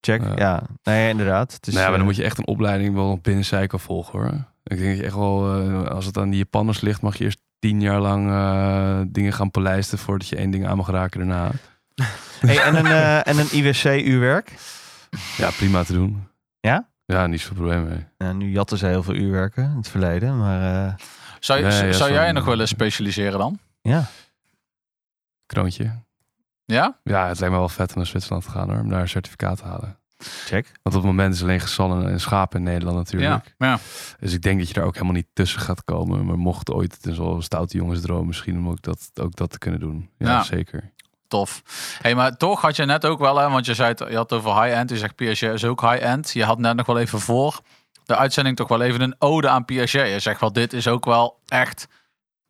[SPEAKER 2] Check.
[SPEAKER 6] Ja.
[SPEAKER 2] Ja. Nee, inderdaad. Het is,
[SPEAKER 6] nou ja, maar dan
[SPEAKER 2] eh,
[SPEAKER 6] moet je echt een opleiding wel nog binnen Seiko volgen hoor. Ik denk dat je echt wel, eh, als het aan die Japanners ligt, mag je eerst tien jaar lang eh, dingen gaan polijsten voordat je één ding aan mag raken daarna.
[SPEAKER 2] Hey, en een, eh, en een IWC-uurwerk.
[SPEAKER 6] Ja, prima te doen.
[SPEAKER 2] Ja?
[SPEAKER 6] Ja, niet zoveel probleem mee.
[SPEAKER 2] Nou, nu jatten ze heel veel uurwerken in het verleden. Maar eh,
[SPEAKER 4] Zou, je-
[SPEAKER 6] Nee,
[SPEAKER 4] zou
[SPEAKER 6] ja,
[SPEAKER 4] zou
[SPEAKER 6] zo'n-
[SPEAKER 4] jij nog willen specialiseren dan?
[SPEAKER 2] ja.
[SPEAKER 6] Kroontje.
[SPEAKER 4] Ja?
[SPEAKER 6] Ja, het lijkt me wel vet om naar Zwitserland te gaan hoor, om daar een certificaat te halen.
[SPEAKER 2] Check.
[SPEAKER 6] Want op het moment is alleen gezallen en schapen in Nederland natuurlijk.
[SPEAKER 4] Ja. ja.
[SPEAKER 6] Dus ik denk dat je daar ook helemaal niet tussen gaat komen. Maar mocht ooit, het is wel een stoute jongensdroom misschien om ook dat, ook dat te kunnen doen. Ja,
[SPEAKER 4] Ja.
[SPEAKER 6] zeker.
[SPEAKER 4] Tof. hey, maar toch had je net ook wel, hè, want je zei het, je had het over high-end. Je zegt Piaget is ook high-end. Je had net nog wel even voor de uitzending toch wel even een ode aan Piaget. Je zegt wel, dit is ook wel echt...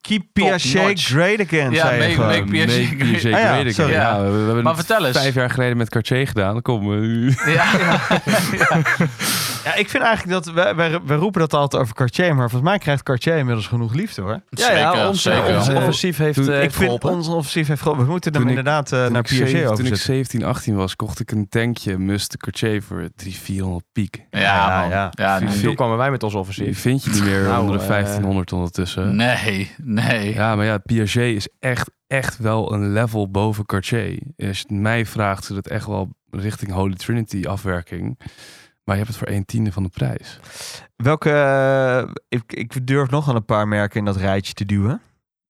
[SPEAKER 2] Keep Piaget
[SPEAKER 4] notch.
[SPEAKER 2] great again,
[SPEAKER 4] Ja,
[SPEAKER 2] zei je
[SPEAKER 4] make-
[SPEAKER 2] gewoon.
[SPEAKER 4] make Piaget
[SPEAKER 6] Make
[SPEAKER 4] great.
[SPEAKER 6] Piaget
[SPEAKER 2] Ah ja,
[SPEAKER 6] great again.
[SPEAKER 2] sorry.
[SPEAKER 6] Ja, we, we hebben
[SPEAKER 4] Maar
[SPEAKER 6] het
[SPEAKER 4] vertel eens.
[SPEAKER 6] vijf jaar geleden met Cartier gedaan. Kom, eh,
[SPEAKER 4] Ja, ja.
[SPEAKER 2] Ja, ik vind eigenlijk dat... Wij, wij, wij roepen dat altijd over Cartier, maar volgens mij krijgt Cartier inmiddels genoeg liefde, hoor.
[SPEAKER 4] Zeker,
[SPEAKER 3] ons,
[SPEAKER 4] zeker.
[SPEAKER 3] ons
[SPEAKER 2] Eh,
[SPEAKER 3] offensief heeft
[SPEAKER 6] toen-
[SPEAKER 3] eh,
[SPEAKER 2] ik vind
[SPEAKER 3] geholpen.
[SPEAKER 2] ons offensief heeft geholpen. We moeten
[SPEAKER 6] Toen
[SPEAKER 2] hem
[SPEAKER 6] ik-
[SPEAKER 2] inderdaad eh,
[SPEAKER 6] toen
[SPEAKER 2] naar
[SPEAKER 6] ik zeven-
[SPEAKER 2] Piaget
[SPEAKER 6] Toen ik
[SPEAKER 2] overzetten.
[SPEAKER 6] 17, 18 was, kocht ik een tankje Muster Cartier voor 300, 400 piek.
[SPEAKER 2] Ja,
[SPEAKER 4] man.
[SPEAKER 2] ja.
[SPEAKER 4] Ja,
[SPEAKER 3] En
[SPEAKER 4] nee.
[SPEAKER 6] Vind-
[SPEAKER 3] toen kwamen wij met ons
[SPEAKER 6] Die
[SPEAKER 3] offensief.
[SPEAKER 6] vind je niet meer
[SPEAKER 3] Nou,
[SPEAKER 6] onder de
[SPEAKER 3] eh,
[SPEAKER 6] 1500 ondertussen.
[SPEAKER 4] nee, nee.
[SPEAKER 6] Ja, maar ja, Piaget is echt, echt wel een level boven Cartier. Als je het mij vraagt, is het echt wel richting Holy Trinity afwerking. Maar je hebt het voor een tiende van de prijs.
[SPEAKER 2] Welke... eh, ik, ik durf nog aan een paar merken in dat rijtje te duwen.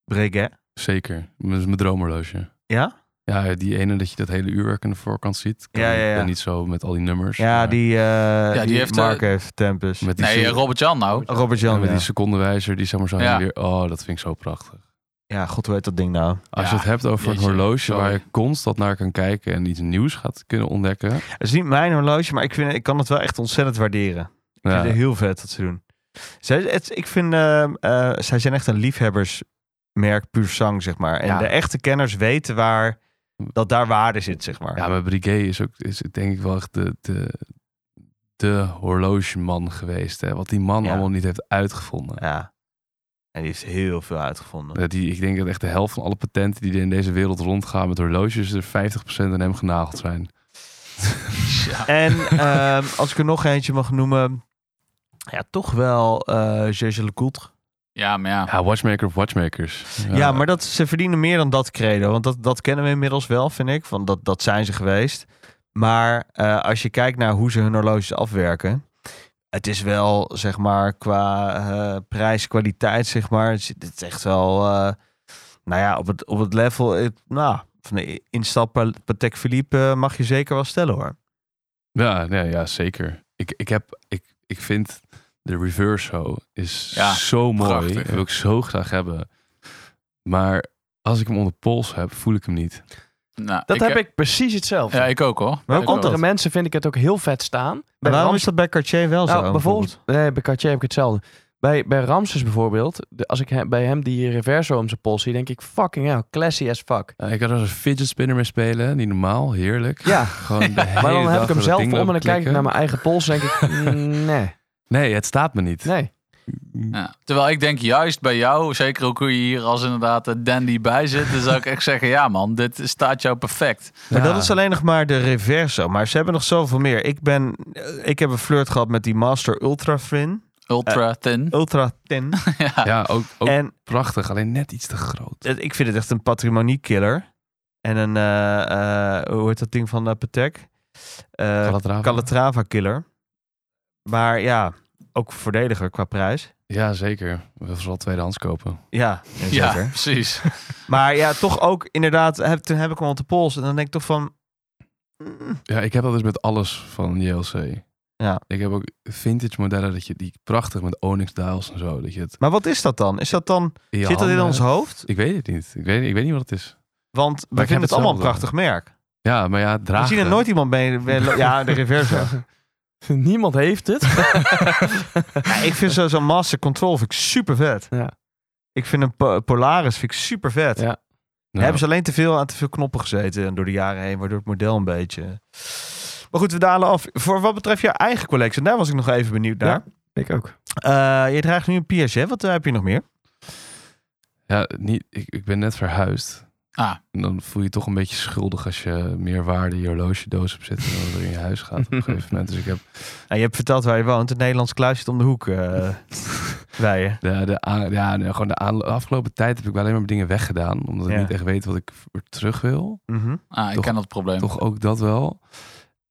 [SPEAKER 2] Breguet.
[SPEAKER 6] Zeker. Dat is mijn droomhorloge.
[SPEAKER 2] Ja?
[SPEAKER 6] Ja, die ene dat je dat hele uurwerk aan de voorkant ziet. Ik
[SPEAKER 2] Ja, ja, ja.
[SPEAKER 6] ben niet zo met al die nummers.
[SPEAKER 2] Ja,
[SPEAKER 6] maar
[SPEAKER 2] die, eh, die,
[SPEAKER 4] die heeft,
[SPEAKER 2] Mark
[SPEAKER 4] eh,
[SPEAKER 2] heeft Tempus.
[SPEAKER 6] Met die,
[SPEAKER 4] Nee,
[SPEAKER 6] seconde-
[SPEAKER 4] Robert-Jan nou.
[SPEAKER 2] Robert
[SPEAKER 6] ja,
[SPEAKER 2] Jan,
[SPEAKER 6] met
[SPEAKER 2] ja.
[SPEAKER 6] die secondenwijzer, die zeg maar zo
[SPEAKER 4] Ja.
[SPEAKER 6] heen en weer. Oh, dat vind ik zo prachtig.
[SPEAKER 2] Ja, god, hoe heet dat ding nou?
[SPEAKER 6] Als
[SPEAKER 4] Ja,
[SPEAKER 6] je het hebt over
[SPEAKER 4] jeetje,
[SPEAKER 6] een horloge
[SPEAKER 4] sorry.
[SPEAKER 6] waar je constant naar kan kijken en iets nieuws gaat kunnen ontdekken.
[SPEAKER 2] Het is niet mijn horloge, maar ik, vind, ik kan het wel echt ontzettend waarderen. Ik
[SPEAKER 6] Ja.
[SPEAKER 2] vind het heel vet wat ze doen. Zij, het, ik vind, eh, eh, zij zijn echt een liefhebbersmerk puur zang, zeg maar. En
[SPEAKER 6] Ja.
[SPEAKER 2] de echte kenners weten waar, dat daar waarde zit, zeg maar.
[SPEAKER 6] Ja, maar Brigé is ook is denk ik wel echt de, de, de horlogeman geweest. Hè? Wat die man
[SPEAKER 2] Ja.
[SPEAKER 6] allemaal niet heeft uitgevonden.
[SPEAKER 2] Ja. En die heeft heel veel uitgevonden.
[SPEAKER 6] Dat die, ik denk dat echt de helft van alle patenten die er in deze wereld rondgaan met horloges, er 50% aan hem genageld zijn.
[SPEAKER 2] En ehm, als ik er nog eentje mag noemen, ja, toch wel eh Gégé Lecoultre.
[SPEAKER 4] Ja, maar ja.
[SPEAKER 6] Ja, watchmaker of watchmakers.
[SPEAKER 2] Ja, maar dat, ze verdienen meer dan dat credo. Want dat, dat kennen we inmiddels wel, vind ik. Van dat, dat zijn ze geweest. Maar eh, als je kijkt naar hoe ze hun horloges afwerken. Het is wel, zeg maar, qua eh, prijs, kwaliteit, zeg maar. Het is, het is echt wel, eh, nou ja, op het, op het level. eh, nou, van de instap Patek Philippe eh, mag je zeker wel stellen hoor.
[SPEAKER 6] Ja, nee, ja zeker. Ik, ik, heb, ik, ik vind de reverse show is
[SPEAKER 4] Ja,
[SPEAKER 6] zo mooi.
[SPEAKER 4] prachtig,
[SPEAKER 6] Dat
[SPEAKER 4] hè?
[SPEAKER 6] wil ik zo graag hebben. Maar als ik hem onder pols heb, voel ik hem niet.
[SPEAKER 4] Nou, eh,
[SPEAKER 3] Dat heb ik precies hetzelfde.
[SPEAKER 4] Ja, ik ook hoor.
[SPEAKER 2] Maar komt
[SPEAKER 4] Ik ook.
[SPEAKER 2] dat?
[SPEAKER 3] Andere mensen vind ik het ook heel vet staan. Bij
[SPEAKER 2] Maar waarom
[SPEAKER 3] Rams-
[SPEAKER 2] is dat bij Cartier wel
[SPEAKER 3] nou,
[SPEAKER 2] zo?
[SPEAKER 3] bijvoorbeeld, nee, bij Cartier heb ik hetzelfde. Bij, bij Ramses bijvoorbeeld, de- als ik hem- bij hem die reverso om zijn pols zie, denk ik fucking hell, classy as fuck.
[SPEAKER 6] Ja, Eh, ik had er als een fidget spinner mee spelen, niet normaal, heerlijk.
[SPEAKER 3] Ja,
[SPEAKER 6] Gewoon de hele
[SPEAKER 3] maar dan
[SPEAKER 6] dag
[SPEAKER 3] heb ik hem
[SPEAKER 6] dat
[SPEAKER 3] zelf
[SPEAKER 6] ding
[SPEAKER 3] om en dan
[SPEAKER 6] lopen
[SPEAKER 3] kijk ik
[SPEAKER 6] klikken.
[SPEAKER 3] naar mijn eigen pols en denk ik, mm, nee,
[SPEAKER 6] Nee, het staat me niet.
[SPEAKER 3] nee.
[SPEAKER 4] Ja. Terwijl ik denk juist bij jou, zeker ook hoe je hier als inderdaad de dandy bij zit, dan zou ik echt zeggen, ja man, dit staat jou perfect.
[SPEAKER 2] Maar
[SPEAKER 6] Ja.
[SPEAKER 2] dat is alleen nog maar de reverso. Maar ze hebben nog zoveel meer. Ik, ben, eh, ik heb een flirt gehad met die Master Ultra Thin.
[SPEAKER 4] Ultra thin.
[SPEAKER 2] Ultra Thin.
[SPEAKER 6] Ja, ook,
[SPEAKER 3] Eh,
[SPEAKER 6] ook
[SPEAKER 2] En
[SPEAKER 6] prachtig, alleen net iets te groot.
[SPEAKER 2] het- ik vind het echt een patrimoniekiller. En een, eh, eh, hoe heet dat ding van eh, Patek? Eh,
[SPEAKER 6] Calatrava.
[SPEAKER 2] Calatrava killer. Maar ja, ook voordeliger qua prijs.
[SPEAKER 6] Ja, zeker. We vooral tweedehands kopen.
[SPEAKER 2] Ja,
[SPEAKER 4] Ja,
[SPEAKER 2] zeker.
[SPEAKER 4] precies.
[SPEAKER 2] Maar ja, toch ook inderdaad, heb, toen heb ik hem op de pols. En dan denk ik toch van, mm,
[SPEAKER 6] Ja, ik heb dat dus met alles van JLC.
[SPEAKER 2] Ja.
[SPEAKER 6] Ik heb ook vintage modellen dat je die prachtig met onyx dials en zo dat je het.
[SPEAKER 2] maar wat is dat dan? Is dat dan,
[SPEAKER 6] in je
[SPEAKER 2] zit dat in
[SPEAKER 6] handen
[SPEAKER 2] ons
[SPEAKER 6] hebt.
[SPEAKER 2] hoofd?
[SPEAKER 6] Ik weet het niet. Ik weet, ik weet niet wat het is.
[SPEAKER 2] Want we
[SPEAKER 6] Maar ik heb
[SPEAKER 2] vinden het allemaal een
[SPEAKER 6] hetzelfde.
[SPEAKER 2] prachtig merk.
[SPEAKER 6] Ja, maar ja, draag.
[SPEAKER 2] We zien er nooit iemand mee. mee- ja, de reverse.
[SPEAKER 3] Niemand heeft het.
[SPEAKER 2] Ja, ik vind zo- zo'n Master Control vind ik super vet.
[SPEAKER 3] Ja.
[SPEAKER 2] Ik vind een Po- Polaris vind ik super vet.
[SPEAKER 3] Ja.
[SPEAKER 6] Nou,
[SPEAKER 2] Hebben ze alleen te veel aan te veel knoppen gezeten door de jaren heen, waardoor het model een beetje. Maar goed, we dalen af. Voor wat betreft jouw eigen collectie, daar was ik nog even benieuwd naar.
[SPEAKER 3] Ik ook.
[SPEAKER 2] Eh, je draagt nu een Piaget. Wat eh, heb je nog meer?
[SPEAKER 6] ja, niet, ik, ik ben net verhuisd.
[SPEAKER 4] Ah.
[SPEAKER 6] En dan voel je je toch een beetje schuldig als je meer waarde in je horlogedoos hebt zitten dan er in je huis gaat op een gegeven moment. Dus ik heb
[SPEAKER 2] Nou, je hebt verteld waar je woont. Het Nederlands kluis zit om de hoek. eh bij je.
[SPEAKER 6] de, de, aan- ja, nee, gewoon de, aan- de afgelopen tijd heb ik alleen maar dingen weggedaan. Omdat ik
[SPEAKER 2] Ja.
[SPEAKER 6] niet echt weet wat ik voor terug wil.
[SPEAKER 2] Mhm.
[SPEAKER 4] Ah, ik
[SPEAKER 6] Toch-
[SPEAKER 4] ken dat probleem.
[SPEAKER 6] Toch ook dat wel.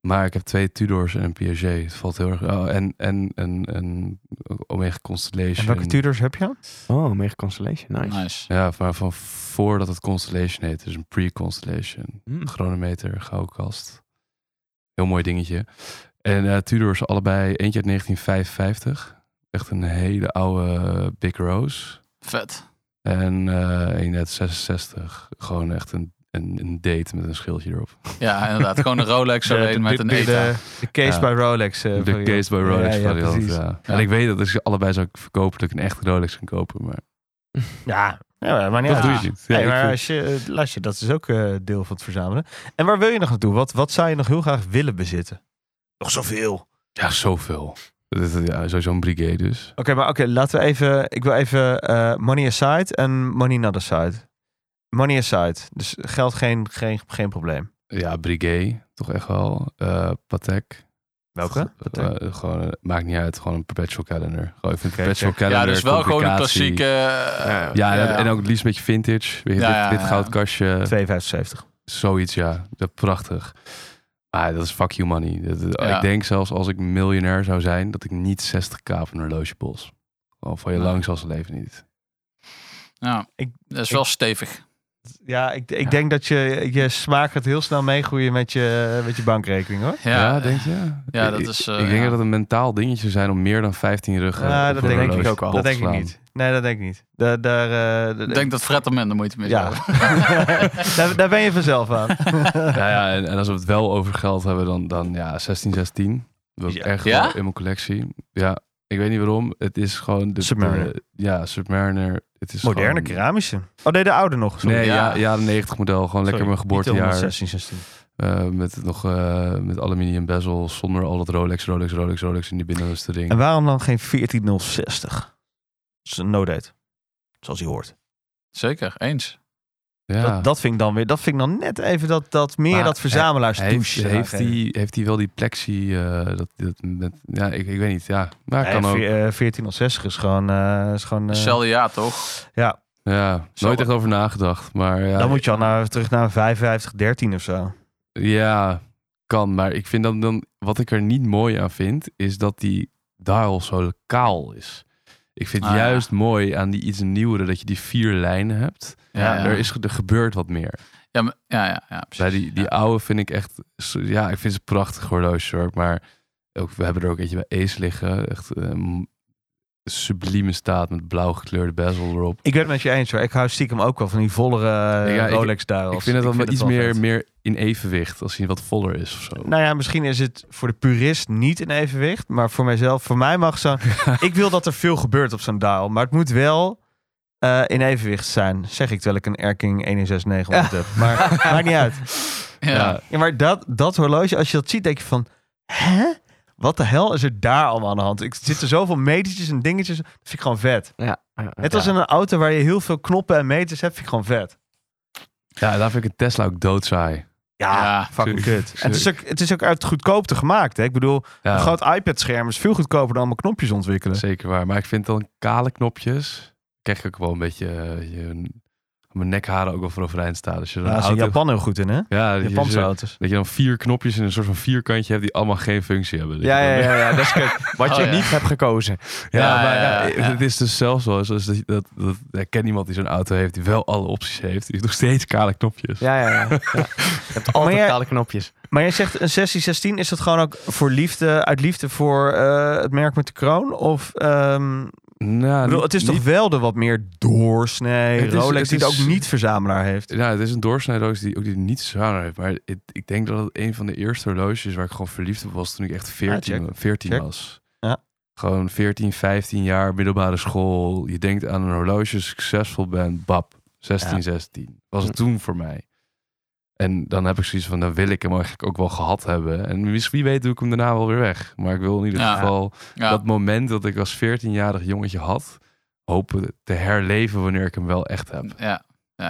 [SPEAKER 6] Maar ik heb twee Tudors en een Piaget. Het valt heel erg... Oh, en, en, en, en Omega
[SPEAKER 2] En
[SPEAKER 6] Constellation.
[SPEAKER 2] welke Tudors heb je?
[SPEAKER 3] Oh, Mega Constellation. Nice.
[SPEAKER 4] Nice.
[SPEAKER 6] Ja, maar van voordat het Constellation heet. Dus een pre-Constellation.
[SPEAKER 3] Hm.
[SPEAKER 6] Een chronometer, gouden kast. Heel mooi dingetje. En eh, Tudors allebei, eentje uit 1955. Echt een hele oude eh, Big Rose.
[SPEAKER 4] Vet.
[SPEAKER 6] En eh een uit 66. Gewoon echt een, een, een date met een schildje erop.
[SPEAKER 4] Ja, inderdaad. Gewoon een Rolex
[SPEAKER 2] De-
[SPEAKER 4] alleen
[SPEAKER 2] de-
[SPEAKER 4] met
[SPEAKER 2] de-
[SPEAKER 4] een
[SPEAKER 2] de-
[SPEAKER 4] ETA.
[SPEAKER 2] De, de case
[SPEAKER 6] Ja.
[SPEAKER 2] by Rolex. eh,
[SPEAKER 6] De
[SPEAKER 2] variant.
[SPEAKER 6] case by Rolex
[SPEAKER 2] Ja, ja,
[SPEAKER 6] variant,
[SPEAKER 2] precies.
[SPEAKER 6] ja.
[SPEAKER 4] Ja.
[SPEAKER 6] En ik weet dat als je allebei zou verkopen, dat ik een echte Rolex kan kopen. Maar
[SPEAKER 2] Ja, ja maar niet
[SPEAKER 6] dat
[SPEAKER 2] uit.
[SPEAKER 6] doe je niet. Ja,
[SPEAKER 2] Nee,
[SPEAKER 6] ik
[SPEAKER 2] maar
[SPEAKER 6] vind-
[SPEAKER 2] als je, eh, lasje, dat is ook eh, deel van het verzamelen. En waar wil je nog naartoe? Wat, wat zou je nog heel graag willen bezitten? Nog zoveel. Oké,
[SPEAKER 6] ja zoveel. Dat is- Ja, sowieso een brigade dus.
[SPEAKER 2] maar oké, laten we even... Ik wil even eh, money aside en money not aside. Money aside. Dus geld geen, geen, geen probleem.
[SPEAKER 6] Ja, brigade. Toch echt wel. Eh Patek.
[SPEAKER 2] Welke?
[SPEAKER 6] Eh, gewoon, eh, maakt niet uit, gewoon een perpetual calendar. Gewoon even een perpetual calendar.
[SPEAKER 4] Ja, dus wel gewoon een
[SPEAKER 6] complicatie.
[SPEAKER 4] klassieke...
[SPEAKER 3] Ja,
[SPEAKER 4] eh,
[SPEAKER 6] Ja, en ook het liefst een beetje vintage. Weet je,
[SPEAKER 4] Ja,
[SPEAKER 6] dit,
[SPEAKER 4] ja,
[SPEAKER 6] dit
[SPEAKER 4] ja.
[SPEAKER 6] goudkastje,
[SPEAKER 2] 2,75.
[SPEAKER 6] zoiets, ja. Dat prachtig. Maar dat is fuck you money. Dat- dat-
[SPEAKER 4] Ja.
[SPEAKER 6] Ik denk zelfs als ik miljonair zou zijn, dat ik niet 60k op een horloge bos. Gewoon voor je
[SPEAKER 4] Nee.
[SPEAKER 6] lang zal ze leven niet.
[SPEAKER 4] Ja,
[SPEAKER 2] Ik-
[SPEAKER 4] dat is wel stevig.
[SPEAKER 2] Ja, ik, ik denk dat je, je smaak gaat heel snel meegroeien met je, met je bankrekening hoor.
[SPEAKER 4] Ja,
[SPEAKER 6] Ja,
[SPEAKER 4] ja,
[SPEAKER 6] denk je?
[SPEAKER 4] ja, dat
[SPEAKER 6] Ik-
[SPEAKER 4] is,
[SPEAKER 6] Ik,
[SPEAKER 4] eh,
[SPEAKER 6] ik denk
[SPEAKER 4] ja.
[SPEAKER 6] dat het een mentaal dingetje zou zijn om meer dan 15 ruggen
[SPEAKER 2] Ah,
[SPEAKER 6] op
[SPEAKER 2] dat
[SPEAKER 6] een
[SPEAKER 2] denk ik
[SPEAKER 6] horloge
[SPEAKER 2] ook
[SPEAKER 3] al.
[SPEAKER 6] bot
[SPEAKER 2] dat
[SPEAKER 6] te
[SPEAKER 2] denk ik
[SPEAKER 6] slaan.
[SPEAKER 2] niet. Nee, dat denk ik niet. Daar, daar, eh,
[SPEAKER 4] ik denk dat Fred er minder moeite mee
[SPEAKER 2] Ja.
[SPEAKER 4] zou hebben.
[SPEAKER 2] daar, daar ben je vanzelf aan.
[SPEAKER 6] Ja, ja en, en als we het wel over geld hebben, dan, dan ja, 16, 16. Dat is
[SPEAKER 2] Ja.
[SPEAKER 6] echt
[SPEAKER 4] Ja?
[SPEAKER 6] wel in mijn collectie. Ja, ik weet niet waarom. Het is gewoon... De,
[SPEAKER 2] Submariner.
[SPEAKER 6] de- ja, Submariner. Het is
[SPEAKER 2] Moderne
[SPEAKER 6] gewoon,
[SPEAKER 2] keramische. Oh nee, de oude nog. Sorry.
[SPEAKER 6] Nee, ja,
[SPEAKER 4] Ja.
[SPEAKER 6] ja, de 90 model. Gewoon lekker mijn geboortejaar.
[SPEAKER 2] 16, 16.
[SPEAKER 6] eh, met het nog eh, met aluminium bezel. Zonder al dat Rolex, Rolex, Rolex, Rolex in die binnenste ding.
[SPEAKER 2] En waarom dan geen 14060? Dat is een no-date. Zoals hij hoort.
[SPEAKER 4] Zeker, eens.
[SPEAKER 6] ja.
[SPEAKER 2] Dat, dat vind ik dan weer. Dat vind ik dan net even dat, dat meer
[SPEAKER 6] Maar
[SPEAKER 2] dat verzamelaars
[SPEAKER 6] heeft,
[SPEAKER 2] douche.
[SPEAKER 6] heeft, die, heeft die wel die plexi? eh, dat, dat, met, ja, ik, ik weet niet. Ja, maar kan ook.
[SPEAKER 2] 1460 eh, is gewoon. eh, is gewoon eh,
[SPEAKER 4] Hetzelfde jaar toch?
[SPEAKER 2] ja,
[SPEAKER 6] Ja, nooit echt over nagedacht. Maar ja,
[SPEAKER 2] dan moet je al naar, terug naar 5513 of zo.
[SPEAKER 6] Ja, kan. Maar ik vind dan, dan wat ik er niet mooi aan vind, is dat die dial zo kaal is. Ik vind
[SPEAKER 4] Ah, ja.
[SPEAKER 6] juist mooi aan die iets nieuwere dat je die vier lijnen hebt.
[SPEAKER 4] Ja, ja.
[SPEAKER 6] Er, is, ge- er gebeurt wat meer.
[SPEAKER 4] Ja, maar- ja, ja, ja precies.
[SPEAKER 6] Bij die, die
[SPEAKER 4] Ja.
[SPEAKER 6] oude vind ik echt... zo- Ja, ik vind ze prachtig horloge hoor. Maar ook, we hebben er ook eentje bij Ace liggen. Echt een sublieme staat met blauw gekleurde bezel erop.
[SPEAKER 2] Ik ben het met je eens hoor. Ik hou stiekem ook wel van die vollere eh,
[SPEAKER 6] Ja, ik-
[SPEAKER 2] Rolex daar.
[SPEAKER 6] ik vind het dan wel iets meer, meer in evenwicht als hij wat voller is of zo.
[SPEAKER 2] Nou ja, misschien is het voor de purist niet in evenwicht. Maar voor mijzelf, voor mij mag zo. ik wil dat er veel gebeurt op zo'n dial. Maar het moet wel eh, in evenwicht zijn. Zeg ik terwijl ik een Erking 16900 heb. Maar maakt niet uit.
[SPEAKER 4] Ja.
[SPEAKER 6] Ja.
[SPEAKER 2] Ja, maar dat, dat horloge, als je dat ziet, denk je van... Hè? Wat de hel is er daar allemaal aan de hand? Ik zitten zoveel metertjes en dingetjes. Dat vind ik gewoon vet.
[SPEAKER 3] Ja.
[SPEAKER 2] Net als in een auto waar je heel veel knoppen en meters hebt, vind ik gewoon vet.
[SPEAKER 6] Ja, daar vind ik een Tesla ook doodzaai.
[SPEAKER 2] Ja,
[SPEAKER 4] Ja,
[SPEAKER 2] fucking
[SPEAKER 6] tuurlijk,
[SPEAKER 2] kut. En het, is ook, het is ook uit goedkoopte gemaakt. Hè? Ik bedoel,
[SPEAKER 6] Ja.
[SPEAKER 2] Een groot iPad-scherm is veel goedkoper dan allemaal knopjes ontwikkelen.
[SPEAKER 6] Zeker waar. Maar ik vind dan kale knopjes. Krijg ik ook wel een beetje. eh, je, mijn nekharen ook wel voor overeind staan. Dus je dan
[SPEAKER 2] Daar
[SPEAKER 6] een
[SPEAKER 2] is in
[SPEAKER 6] auto-
[SPEAKER 2] Japan heel goed in, hè?
[SPEAKER 6] ja, dat je
[SPEAKER 2] Japanse
[SPEAKER 6] zo-
[SPEAKER 2] auto's.
[SPEAKER 6] dat je dan vier knopjes in een soort van vierkantje hebt die allemaal geen functie hebben. Dus
[SPEAKER 3] Ja,
[SPEAKER 6] je
[SPEAKER 3] ja,
[SPEAKER 6] dan-
[SPEAKER 3] ja, ja, dat is kut. Wat
[SPEAKER 4] Oh,
[SPEAKER 3] je
[SPEAKER 4] ja.
[SPEAKER 3] niet hebt gekozen.
[SPEAKER 6] Ja,
[SPEAKER 4] Ja,
[SPEAKER 6] maar ja,
[SPEAKER 4] ja, ja.
[SPEAKER 6] het is dus zelfs wel eens als dat, dat, dat ik ken iemand die zo'n auto heeft die wel alle opties heeft. Die heeft nog steeds kale knopjes.
[SPEAKER 3] Ja, ja, ja. Je hebt
[SPEAKER 2] Maar
[SPEAKER 3] altijd
[SPEAKER 2] jij-
[SPEAKER 3] kale knopjes.
[SPEAKER 2] Maar jij zegt een 1616, is dat gewoon ook voor liefde, uit liefde voor eh, het merk met de kroon? Of ehm,
[SPEAKER 6] Nou,
[SPEAKER 2] Ik bedoel,
[SPEAKER 6] niet-
[SPEAKER 2] het is
[SPEAKER 6] niet-
[SPEAKER 2] toch wel de wat meer doorsnee
[SPEAKER 6] Het is-
[SPEAKER 2] Rolex
[SPEAKER 6] het
[SPEAKER 2] die het
[SPEAKER 6] is-
[SPEAKER 2] ook niet verzamelaar heeft.
[SPEAKER 6] Ja, het is een doorsnijhorloge die ook die niet zwaar heeft. Maar het- ik denk dat het een van de eerste horloges waar ik gewoon verliefd op was toen ik echt 14,
[SPEAKER 2] Ah, check.
[SPEAKER 6] 14
[SPEAKER 2] Check.
[SPEAKER 6] was.
[SPEAKER 2] Ja.
[SPEAKER 6] Gewoon 14, 15 jaar, middelbare school. Je denkt aan een horloge, succesvol bent, bab. 16,
[SPEAKER 2] Ja. Hm.
[SPEAKER 6] 16. Was het toen voor mij. En dan heb ik zoiets van, dan wil ik hem eigenlijk ook wel gehad hebben. En mis- wie weet doe ik hem daarna wel weer weg. Maar ik wil in ieder
[SPEAKER 4] Ja.
[SPEAKER 6] geval
[SPEAKER 4] Ja.
[SPEAKER 6] dat moment dat ik als 14-jarig jongetje had... hopen te herleven wanneer ik hem wel echt heb.
[SPEAKER 4] ja. Ja, ja.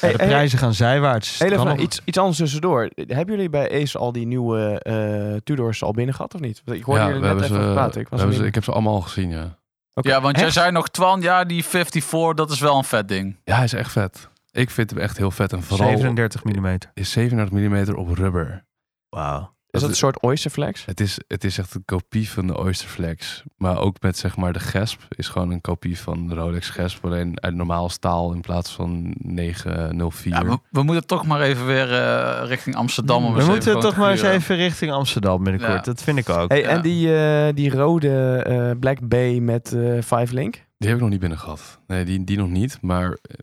[SPEAKER 2] Ja, de
[SPEAKER 3] Hey,
[SPEAKER 2] prijzen gaan zijwaarts.
[SPEAKER 3] Heel
[SPEAKER 2] Het
[SPEAKER 3] even
[SPEAKER 2] kan
[SPEAKER 3] nou,
[SPEAKER 2] nog-
[SPEAKER 3] iets, iets anders tussendoor. Hebben jullie bij Ace al die nieuwe eh, Tudors al binnen gehad of niet? Want Ik hoorde jullie net even over praten. Ik was
[SPEAKER 6] we
[SPEAKER 3] er
[SPEAKER 6] hebben ze-
[SPEAKER 3] niet-
[SPEAKER 6] ik heb ze allemaal al gezien, ja.
[SPEAKER 3] Oké.
[SPEAKER 4] ja, want jij
[SPEAKER 3] Echt?
[SPEAKER 4] zei nog, Twan, ja, die 54, dat is wel een vet ding.
[SPEAKER 6] Ja, hij is echt vet. Ik vind hem echt heel vet. En vooral
[SPEAKER 2] 37 mm.
[SPEAKER 6] is 37 mm op rubber.
[SPEAKER 2] Wauw.
[SPEAKER 3] Is dat een soort oysterflex?
[SPEAKER 6] Het is, het is echt een kopie van de Oysterflex. Maar ook met zeg maar de gesp is gewoon een kopie van de Rolex gesp. Alleen uit normaal staal in plaats van 904.
[SPEAKER 4] Ja, we, we moeten toch maar even weer eh, richting Amsterdam. om
[SPEAKER 2] We
[SPEAKER 4] eens even
[SPEAKER 2] moeten
[SPEAKER 4] gewoon
[SPEAKER 2] toch
[SPEAKER 4] te
[SPEAKER 2] maar eens
[SPEAKER 4] gluren.
[SPEAKER 2] even richting Amsterdam binnenkort.
[SPEAKER 4] Ja.
[SPEAKER 2] Dat vind ik ook.
[SPEAKER 3] Hey,
[SPEAKER 4] Ja.
[SPEAKER 3] En die, eh, die rode eh, Black Bay met eh 5 Link?
[SPEAKER 6] Die heb ik nog niet binnen gehad. Nee, die, die nog niet. Maar eh,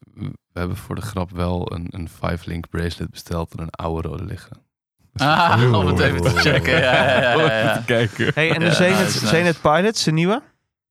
[SPEAKER 6] we hebben voor de grap wel een, een 5-link bracelet besteld en een oude rode liggen.
[SPEAKER 4] Ah, om het even te checken. Ja, ja, ja, ja, ja.
[SPEAKER 6] kijken.
[SPEAKER 2] Hey, en de
[SPEAKER 4] Ja,
[SPEAKER 2] Zenith,
[SPEAKER 4] nice, nice.
[SPEAKER 2] Zenith Pilots, de nieuwe?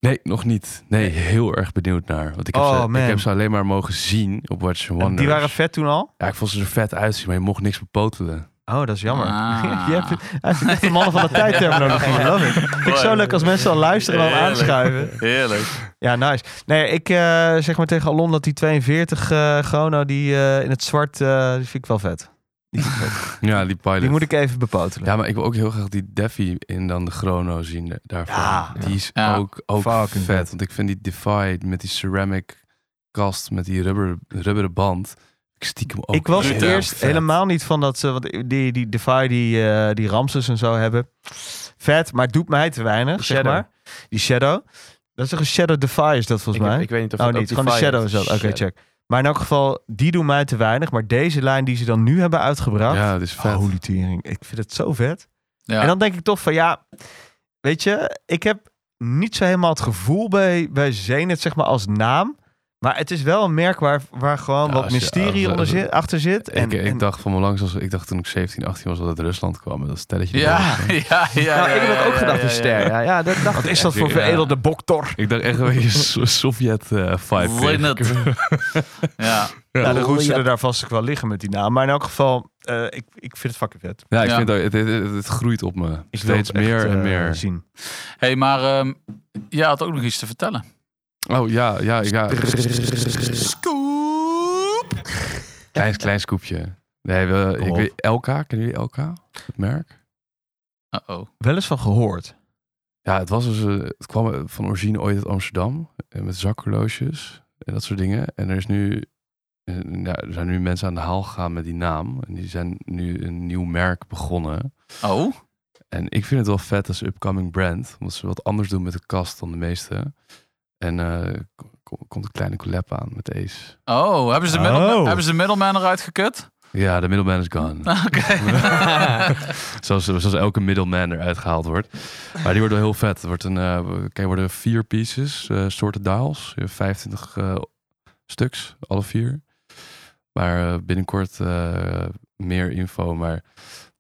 [SPEAKER 6] Nee, nog niet. Nee, heel erg benieuwd naar. Want ik heb,
[SPEAKER 2] Oh,
[SPEAKER 6] ze,
[SPEAKER 2] man.
[SPEAKER 6] ik heb ze alleen maar mogen zien op Watch and Wonders.
[SPEAKER 2] Die waren vet toen al?
[SPEAKER 6] Ja, ik vond ze er vet uitzien, maar je mocht niks bepotelen.
[SPEAKER 2] Oh, dat is jammer.
[SPEAKER 4] Ah.
[SPEAKER 2] Je hebt, hij is echt de mannen van de tijdterminologie, love it. Vind ik zo leuk als mensen al luisteren en al
[SPEAKER 4] Heerlijk.
[SPEAKER 2] aanschuiven.
[SPEAKER 4] Heerlijk.
[SPEAKER 2] Ja, nice. Nee, ik eh, zeg maar tegen Alon dat die 42 eh Chrono, die eh, in het zwart, eh, die vind ik wel vet. Die, vind ik vet.
[SPEAKER 6] Ja, die pilot.
[SPEAKER 2] Die moet ik even bepotelen.
[SPEAKER 6] Ja, maar ik wil ook heel graag die Defi in dan de Chrono zien da- daarvan.
[SPEAKER 2] Ja.
[SPEAKER 6] die is
[SPEAKER 4] Ja.
[SPEAKER 6] ook, ook
[SPEAKER 2] Fucking vet.
[SPEAKER 6] vet. Want ik vind die Defied met die ceramic kast, met die rubber, rubberen band. Ik stiekem ook
[SPEAKER 2] ik was
[SPEAKER 6] heel
[SPEAKER 4] brutaal
[SPEAKER 2] eerst
[SPEAKER 6] vet.
[SPEAKER 2] helemaal niet van dat ze, want die, die Defy, die, eh, die Ramses en zo hebben. Vet, maar doet mij te weinig,
[SPEAKER 3] Die
[SPEAKER 2] zeg
[SPEAKER 3] Shadow.
[SPEAKER 2] maar. Die Shadow. Dat is toch een Shadow Defy is dat volgens
[SPEAKER 3] ik,
[SPEAKER 2] mij?
[SPEAKER 3] Ik weet niet of
[SPEAKER 2] oh,
[SPEAKER 3] het ook
[SPEAKER 2] niet. Gewoon de
[SPEAKER 3] Defy
[SPEAKER 2] Shadow
[SPEAKER 3] is.
[SPEAKER 2] is dat. Oké,
[SPEAKER 3] Shadow.
[SPEAKER 2] check. Maar in elk geval, die doen mij te weinig. Maar deze lijn die ze dan nu hebben uitgebracht.
[SPEAKER 6] Ja, dat is vet.
[SPEAKER 2] Holy tering. Ik vind het zo vet.
[SPEAKER 4] Ja.
[SPEAKER 2] En dan denk ik toch van ja, weet je, ik heb niet zo helemaal het gevoel bij, bij Zenith, zeg maar, als naam. Maar het is wel een merk waar, waar gewoon
[SPEAKER 6] Ja,
[SPEAKER 2] wat
[SPEAKER 6] als je-
[SPEAKER 2] mysterie
[SPEAKER 6] als-
[SPEAKER 2] onder zit, achter zit. En,
[SPEAKER 6] ik,
[SPEAKER 2] en-
[SPEAKER 6] ik dacht van me langs, als, ik dacht toen ik 17, 18 was dat het Rusland kwam. met Dat stelletje.
[SPEAKER 4] Ja,
[SPEAKER 6] erboven.
[SPEAKER 4] ja, ja. ja
[SPEAKER 3] Nou, ik heb
[SPEAKER 4] ja,
[SPEAKER 3] dat ook
[SPEAKER 4] ja,
[SPEAKER 3] gedacht,
[SPEAKER 4] ja,
[SPEAKER 3] een ster.
[SPEAKER 4] ja.
[SPEAKER 3] Ja, ja, dat dacht
[SPEAKER 2] wat
[SPEAKER 3] ik.
[SPEAKER 2] is dat voor
[SPEAKER 6] Ja.
[SPEAKER 2] veredelde boktor?
[SPEAKER 6] Ik dacht echt een beetje so- Sovjet eh vibe.
[SPEAKER 4] Win it. Ja.
[SPEAKER 2] Ja, de roet
[SPEAKER 3] ja.
[SPEAKER 2] zullen daar vast ook wel liggen met die naam. Maar in elk geval, eh, ik, ik vind het fucking vet.
[SPEAKER 6] Ja, ik
[SPEAKER 4] Ja.
[SPEAKER 6] vind ook, het, het, het- het groeit op me.
[SPEAKER 2] Ik wil
[SPEAKER 6] Steeds
[SPEAKER 2] het echt,
[SPEAKER 6] meer en
[SPEAKER 2] eh,
[SPEAKER 6] meer.
[SPEAKER 2] zien.
[SPEAKER 4] hey, maar ehm jij had ook nog iets te vertellen.
[SPEAKER 6] Oh ja, ja, ja. Klein, klein scoopje. Nee, we,
[SPEAKER 2] Kom
[SPEAKER 6] ik
[SPEAKER 2] op.
[SPEAKER 6] weet, LK, kennen jullie LK? Het merk?
[SPEAKER 4] Uh-oh.
[SPEAKER 2] Wel eens van gehoord.
[SPEAKER 6] Ja, het, was dus, eh, het kwam eh, van origine ooit uit Amsterdam. eh, Met zakhorloges en dat soort dingen. En er, is nu, eh, ja, er zijn nu mensen aan de haal gegaan met die naam. En die zijn nu een nieuw merk begonnen.
[SPEAKER 4] Oh?
[SPEAKER 6] En ik vind het wel vet als upcoming brand. Omdat ze wat anders doen met de kast dan de meeste. En eh, ko- ko- komt een kleine collab aan met Ace.
[SPEAKER 4] Oh, hebben ze de, middleman,
[SPEAKER 2] Oh.
[SPEAKER 4] hebben ze de middleman eruit gekut?
[SPEAKER 6] Ja, de middleman is gone.
[SPEAKER 4] Oké.
[SPEAKER 6] zoals, zoals elke middleman eruit gehaald wordt. Maar die wordt wel heel vet. Het wordt een, eh kijk, er worden vier pieces, eh, soorten dials. Je hebt 25 eh, stuks, alle vier. Maar eh, binnenkort eh, meer info. Maar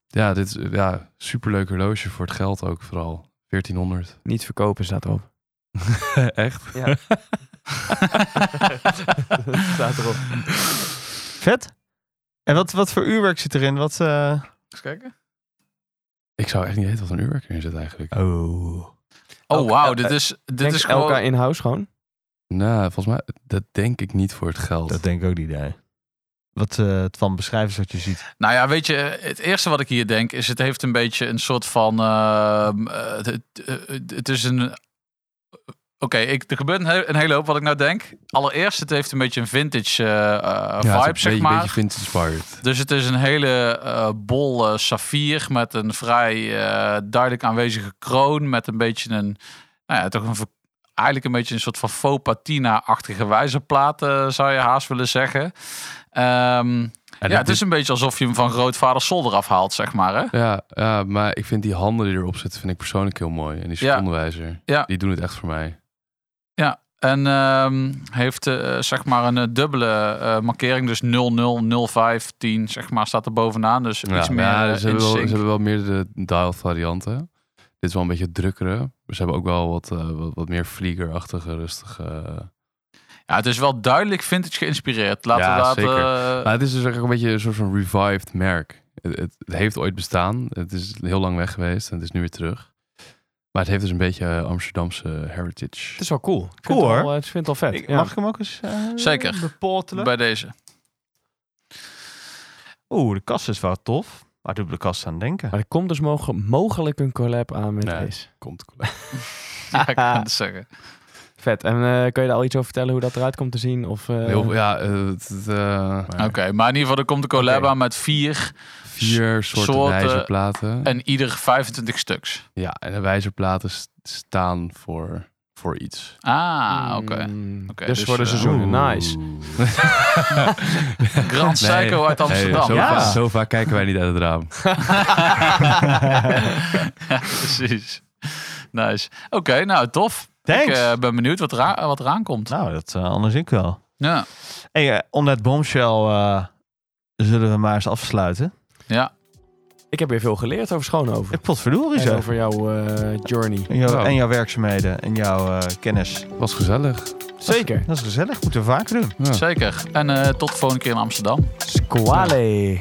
[SPEAKER 6] ja, dit is eh, ja, superleuk horloge voor het geld ook vooral. 1400.
[SPEAKER 3] Niet verkopen staat erop.
[SPEAKER 6] Echt?
[SPEAKER 3] Ja. staat erop.
[SPEAKER 2] Vet. En wat, wat voor uurwerk zit erin? Wat, eh,
[SPEAKER 4] Eens kijken.
[SPEAKER 6] Ik zou echt niet weten wat een uurwerk erin zit eigenlijk.
[SPEAKER 2] Oh.
[SPEAKER 4] Oh,
[SPEAKER 3] Elk-
[SPEAKER 4] wauw.
[SPEAKER 3] eh,
[SPEAKER 4] Dit is, dit
[SPEAKER 3] Denk
[SPEAKER 4] is
[SPEAKER 3] LK
[SPEAKER 4] gewoon...
[SPEAKER 3] in-house gewoon.
[SPEAKER 6] Nou, volgens mij, dat denk ik niet voor het geld.
[SPEAKER 2] Dat denk ik ook niet, nee. Wat eh van beschrijven is wat je ziet.
[SPEAKER 4] Nou ja, weet je, het eerste wat ik hier denk is, het heeft een beetje een soort van, ehm, eh, het, het- het is een, oké, ik- er gebeurt een, he- een hele hoop wat ik nou denk. Allereerst, het heeft een beetje een vintage eh, eh,
[SPEAKER 6] Ja, het
[SPEAKER 4] vibe,
[SPEAKER 6] is
[SPEAKER 4] zeg
[SPEAKER 6] een beetje,
[SPEAKER 4] maar.
[SPEAKER 6] beetje vintage inspired.
[SPEAKER 4] Dus het is een hele eh, bol eh, saffier met een vrij eh, duidelijk aanwezige kroon. Met een beetje een, nou ja, toch een, ver- eigenlijk een beetje een soort van faux patina-achtige wijzerplaat, eh, zou je haast willen zeggen. Ehm,
[SPEAKER 6] En
[SPEAKER 4] ja,
[SPEAKER 6] dat
[SPEAKER 4] het is een beetje alsof je hem van grootvader zolder afhaalt, zeg maar. Hè?
[SPEAKER 6] Ja, ja, maar ik vind die handen die erop zitten, vind ik persoonlijk heel mooi. En die
[SPEAKER 4] Ja.
[SPEAKER 6] secondenwijzer,
[SPEAKER 4] Ja.
[SPEAKER 6] die doen het echt voor mij.
[SPEAKER 4] Ja, En ehm, heeft eh, zeg maar een eh, dubbele eh, markering. Dus 00, 05, 10 zeg maar, staat er bovenaan. Dus iets meer
[SPEAKER 6] ja,
[SPEAKER 4] eh,
[SPEAKER 6] ze, hebben
[SPEAKER 4] in
[SPEAKER 6] wel, ze
[SPEAKER 4] sync.
[SPEAKER 6] hebben wel meerdere dial varianten. Dit is wel een beetje drukkere. Maar ze hebben ook wel wat, eh, wat, wat meer vliegerachtige, rustige...
[SPEAKER 4] Ja, het is wel duidelijk vintage geïnspireerd. Laten
[SPEAKER 6] Ja,
[SPEAKER 4] we dat...
[SPEAKER 6] zeker.
[SPEAKER 4] eh,
[SPEAKER 6] Maar het is dus eigenlijk een beetje een soort van revived merk. Het, het, het heeft ooit bestaan. Het is heel lang weg geweest en het is nu weer terug. Maar het heeft dus een beetje eh, Amsterdamse heritage.
[SPEAKER 3] Het is wel cool. Ik vind
[SPEAKER 2] Cool,
[SPEAKER 3] het wel,
[SPEAKER 2] hoor.
[SPEAKER 3] eh, Ik vind het wel vet.
[SPEAKER 2] Ik-
[SPEAKER 3] ja.
[SPEAKER 2] Mag ik hem ook eens eh,
[SPEAKER 4] Zeker.
[SPEAKER 2] bepotelen?
[SPEAKER 4] bij deze.
[SPEAKER 2] Oeh, de kast is wel tof. Waar doe ik de kast aan denken?
[SPEAKER 3] Maar er komt dus mogen, mogelijk een collab aan met
[SPEAKER 6] Nee.
[SPEAKER 3] Ace.
[SPEAKER 6] Komt
[SPEAKER 4] Eh. Ja, ik kan het zeggen.
[SPEAKER 3] Vet. En eh, kan je daar al iets over vertellen hoe dat eruit komt te zien? Of, eh,
[SPEAKER 6] heel, ja, eh, het, het, eh,
[SPEAKER 4] Oké, maar in ieder geval er komt een collab
[SPEAKER 3] Oké.
[SPEAKER 4] aan met vier
[SPEAKER 6] vier soorten,
[SPEAKER 4] soorten
[SPEAKER 6] wijzerplaten.
[SPEAKER 4] en ieder 25 stuks.
[SPEAKER 6] Ja, en de wijzerplaten s- staan voor, voor iets.
[SPEAKER 4] Ah, oké.
[SPEAKER 3] Mm,
[SPEAKER 4] Oké,
[SPEAKER 3] dus,
[SPEAKER 4] dus,
[SPEAKER 3] voor de
[SPEAKER 4] eh,
[SPEAKER 3] seizoenen. Nice.
[SPEAKER 4] Grand
[SPEAKER 6] Nee.
[SPEAKER 4] Psycho uit Amsterdam.
[SPEAKER 6] zo,
[SPEAKER 2] Ja.
[SPEAKER 6] vaak, zo vaak kijken wij niet uit het raam.
[SPEAKER 4] ja, precies. Nice. Oké, nou tof. Ik
[SPEAKER 2] Thanks!
[SPEAKER 4] eh, ben benieuwd wat, ra- wat eraan komt.
[SPEAKER 2] nou, dat eh, anders ik wel.
[SPEAKER 4] Ja,
[SPEAKER 2] Hey, eh, om dat bombshell eh, zullen we maar eens afsluiten.
[SPEAKER 4] ja.
[SPEAKER 3] Ik heb weer veel geleerd over Schoonhoven.
[SPEAKER 2] Ik potverdorie
[SPEAKER 3] En
[SPEAKER 2] zo. Oh.
[SPEAKER 3] over jouw eh, journey.
[SPEAKER 2] En, jouw-
[SPEAKER 6] Nou.
[SPEAKER 2] en jouw werkzaamheden en jouw eh, kennis.
[SPEAKER 6] was gezellig.
[SPEAKER 3] Zeker.
[SPEAKER 2] Dat is gezellig, moeten we vaker doen.
[SPEAKER 6] Ja.
[SPEAKER 4] zeker. En eh, tot de volgende keer in Amsterdam.
[SPEAKER 3] Squale.